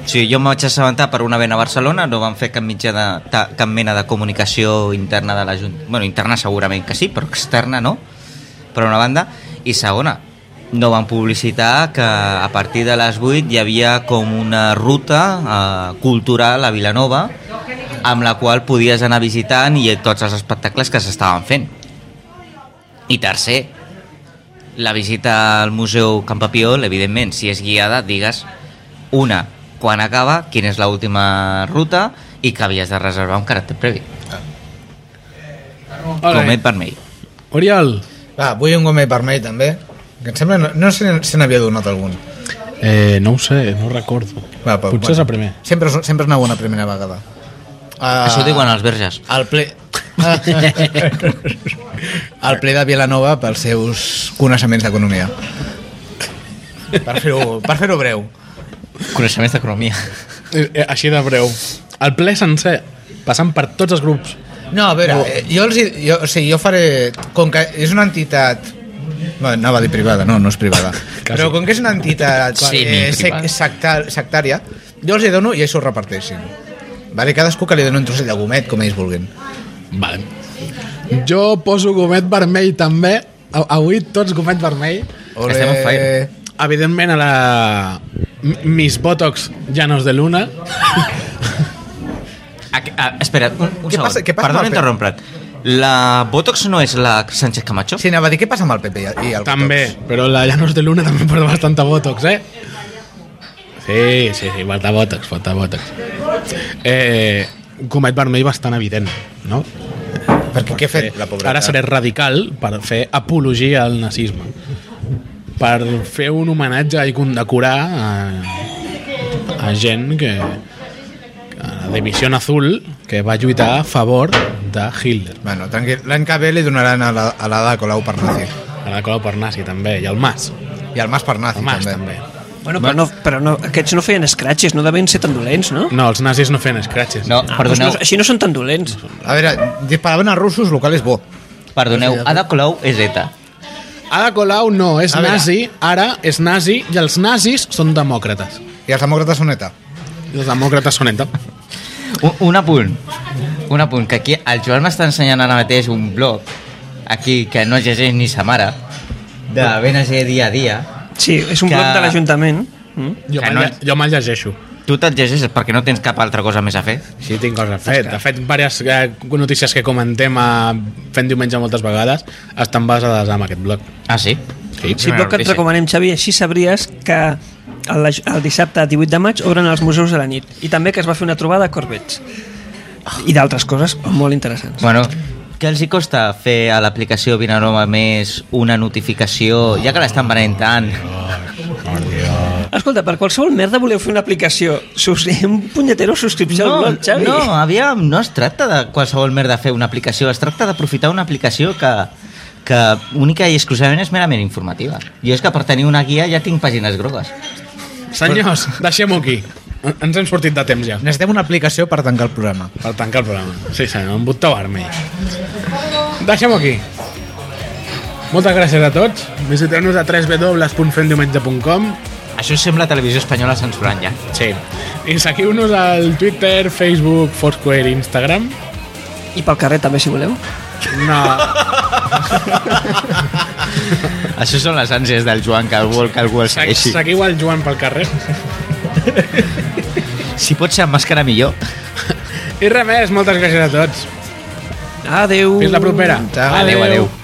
S7: Sí, jo m'ho vaig assabentar per una vena a Barcelona, no van fer cap, mitjà de, ta, cap mena de comunicació interna de la Junta. bueno, interna segurament que sí, però externa no, per una banda. I segona, no van publicitar que a partir de les 8 hi havia com una ruta eh, cultural a Vilanova amb la qual podies anar visitant i tots els espectacles que s'estaven fent. I tercer, la visita al Museu Campapiol, evidentment, si és guiada, digues una, quan acaba, quina és l'última ruta i que havies de reservar un caràcter previ.
S1: Ole.
S7: Comet vermell.
S1: Oriol.
S2: Va, vull un gomet vermell, també. Que em sembla... No, no se se n'havia donat algun.
S1: Eh, no ho sé, no recordo.
S2: Va, però,
S1: Potser és el primer.
S2: Sempre, és- sempre és una bona primera vegada.
S7: Uh,
S2: Uh,
S7: Això ho diuen els verges.
S2: El ple... el ple de Vilanova pels seus coneixements d'economia. Per fer-ho per fer breu.
S7: Coneixements d'economia.
S1: Eh, eh, Així de breu. El ple sencer, passant per tots els grups.
S2: No, a veure, eh, jo, els, hi- jo, o sigui, jo faré... Com que és una entitat... No, anava a dir privada, no, no és privada. Però com que és una entitat
S7: Sí,
S2: eh,
S7: ni privada.
S2: sectar, sectària, jo els hi dono i ells ho reparteixin. Vale, cadascú que li doni un trosset de gomet, com ells vulguin.
S1: Vale. Jo poso gomet vermell també. A- Avui tots gomet vermell.
S2: Ole.
S7: Estem on fire.
S1: Evidentment a la M- Miss Botox Llanos de Luna.
S7: A, a, ah, espera, un, un
S2: Què
S7: segon.
S2: passa- què passa amb
S7: Perdona
S2: el
S7: interrompre't. La Botox no és la Sánchez Camacho?
S2: Sí, anava a dir, què passa amb el PP i el- i el
S1: També, però la Llanos de Luna també porta bastanta Botox, eh? Sí, sí, sí, falta Botox, falta Botox. Eh, gomet vermell bastant evident, no? Eh,
S2: Perquè què ha fet la pobreta?
S1: Ara seré radical per fer apologia al nazisme. Per fer un homenatge i condecorar a, a gent que a la Divisió Azul que va lluitar a favor de Hitler.
S2: Bueno, tranquil, l'any que ve li donaran a la, a la de Colau per nazi.
S1: A la cola per nazi també, i al Mas.
S2: I al Mas per nazi,
S1: Al Mas
S2: també.
S1: també.
S4: Bueno, però, no, però no, aquests no feien scratches, no devien ser tan dolents, no?
S1: No, els nazis no feien scratches.
S7: No,
S4: Ah, doncs
S7: perdoneu,
S4: no, així no són tan dolents.
S2: A veure, disparaven als russos, el qual és bo.
S7: perdoneu. Ada Colau és ETA.
S1: Ada Colau no, és
S2: A veure.
S1: nazi, ara és nazi, i els nazis són demòcrates.
S2: I els demòcrates són ETA.
S1: I els demòcrates són ETA.
S7: Un, un apunt. Un apunt, que aquí el Joan m'està ensenyant ara mateix un blog aquí que no llegeix ni sa mare de BNG dia a dia
S4: Sí, és un
S7: Que-
S4: bloc de l'Ajuntament. Mm?
S1: Jo
S7: Que
S1: me'l
S7: no
S1: lle-
S7: és-
S1: jo me'l llegeixo.
S7: tu te'l llegeixes perquè no tens cap altra cosa més a fer
S1: Sí, tinc coses a fer. De fet, diverses eh, notícies que comentem a fent diumenge moltes vegades estan basades en aquest blog.
S7: ah sí?
S1: Sí.
S4: Sí, però que et recomanem, Xavi, així sabries que el, el dissabte 18 de maig obren els museus a la nit i també que es va fer una trobada a Corbets i d'altres coses molt interessants.
S8: Bueno,
S7: Què els hi costa fer a l'aplicació Vinaroma més una notificació, ja que l'estan venent tant?
S4: Escolta, per qualsevol merda voleu fer una aplicació, sus un punyetero subscripció al blog, Xavi.
S7: no, aviam, no es tracta de qualsevol merda fer una aplicació, es tracta d'aprofitar una aplicació que, que única i exclusivament és merament informativa. Jo és que per tenir una guia ja tinc pàgines grogues.
S1: Senyors, deixem-ho aquí. Ens hem sortit de temps ja.
S2: Necessitem una aplicació per tancar el programa.
S1: Per tancar el programa. Sí, senyor, un botó vermell. Deixem-ho aquí. Moltes gràcies a tots. Visiteu-nos a www.fendiumenge.com
S8: això sembla televisió espanyola censurant ja.
S1: Sí. I seguiu-nos al Twitter, Facebook, Foursquare i Instagram.
S4: I pel carrer també, si voleu.
S1: No,
S8: Això són les ànsies del Joan, que algú, que algú el
S1: se-
S8: segueixi.
S1: seguiu al Joan pel carrer.
S8: Si pot ser amb màscara millor.
S1: I res més, moltes gràcies a tots.
S4: Adeu.
S1: Fins la propera.
S2: Adeu,
S8: adeu.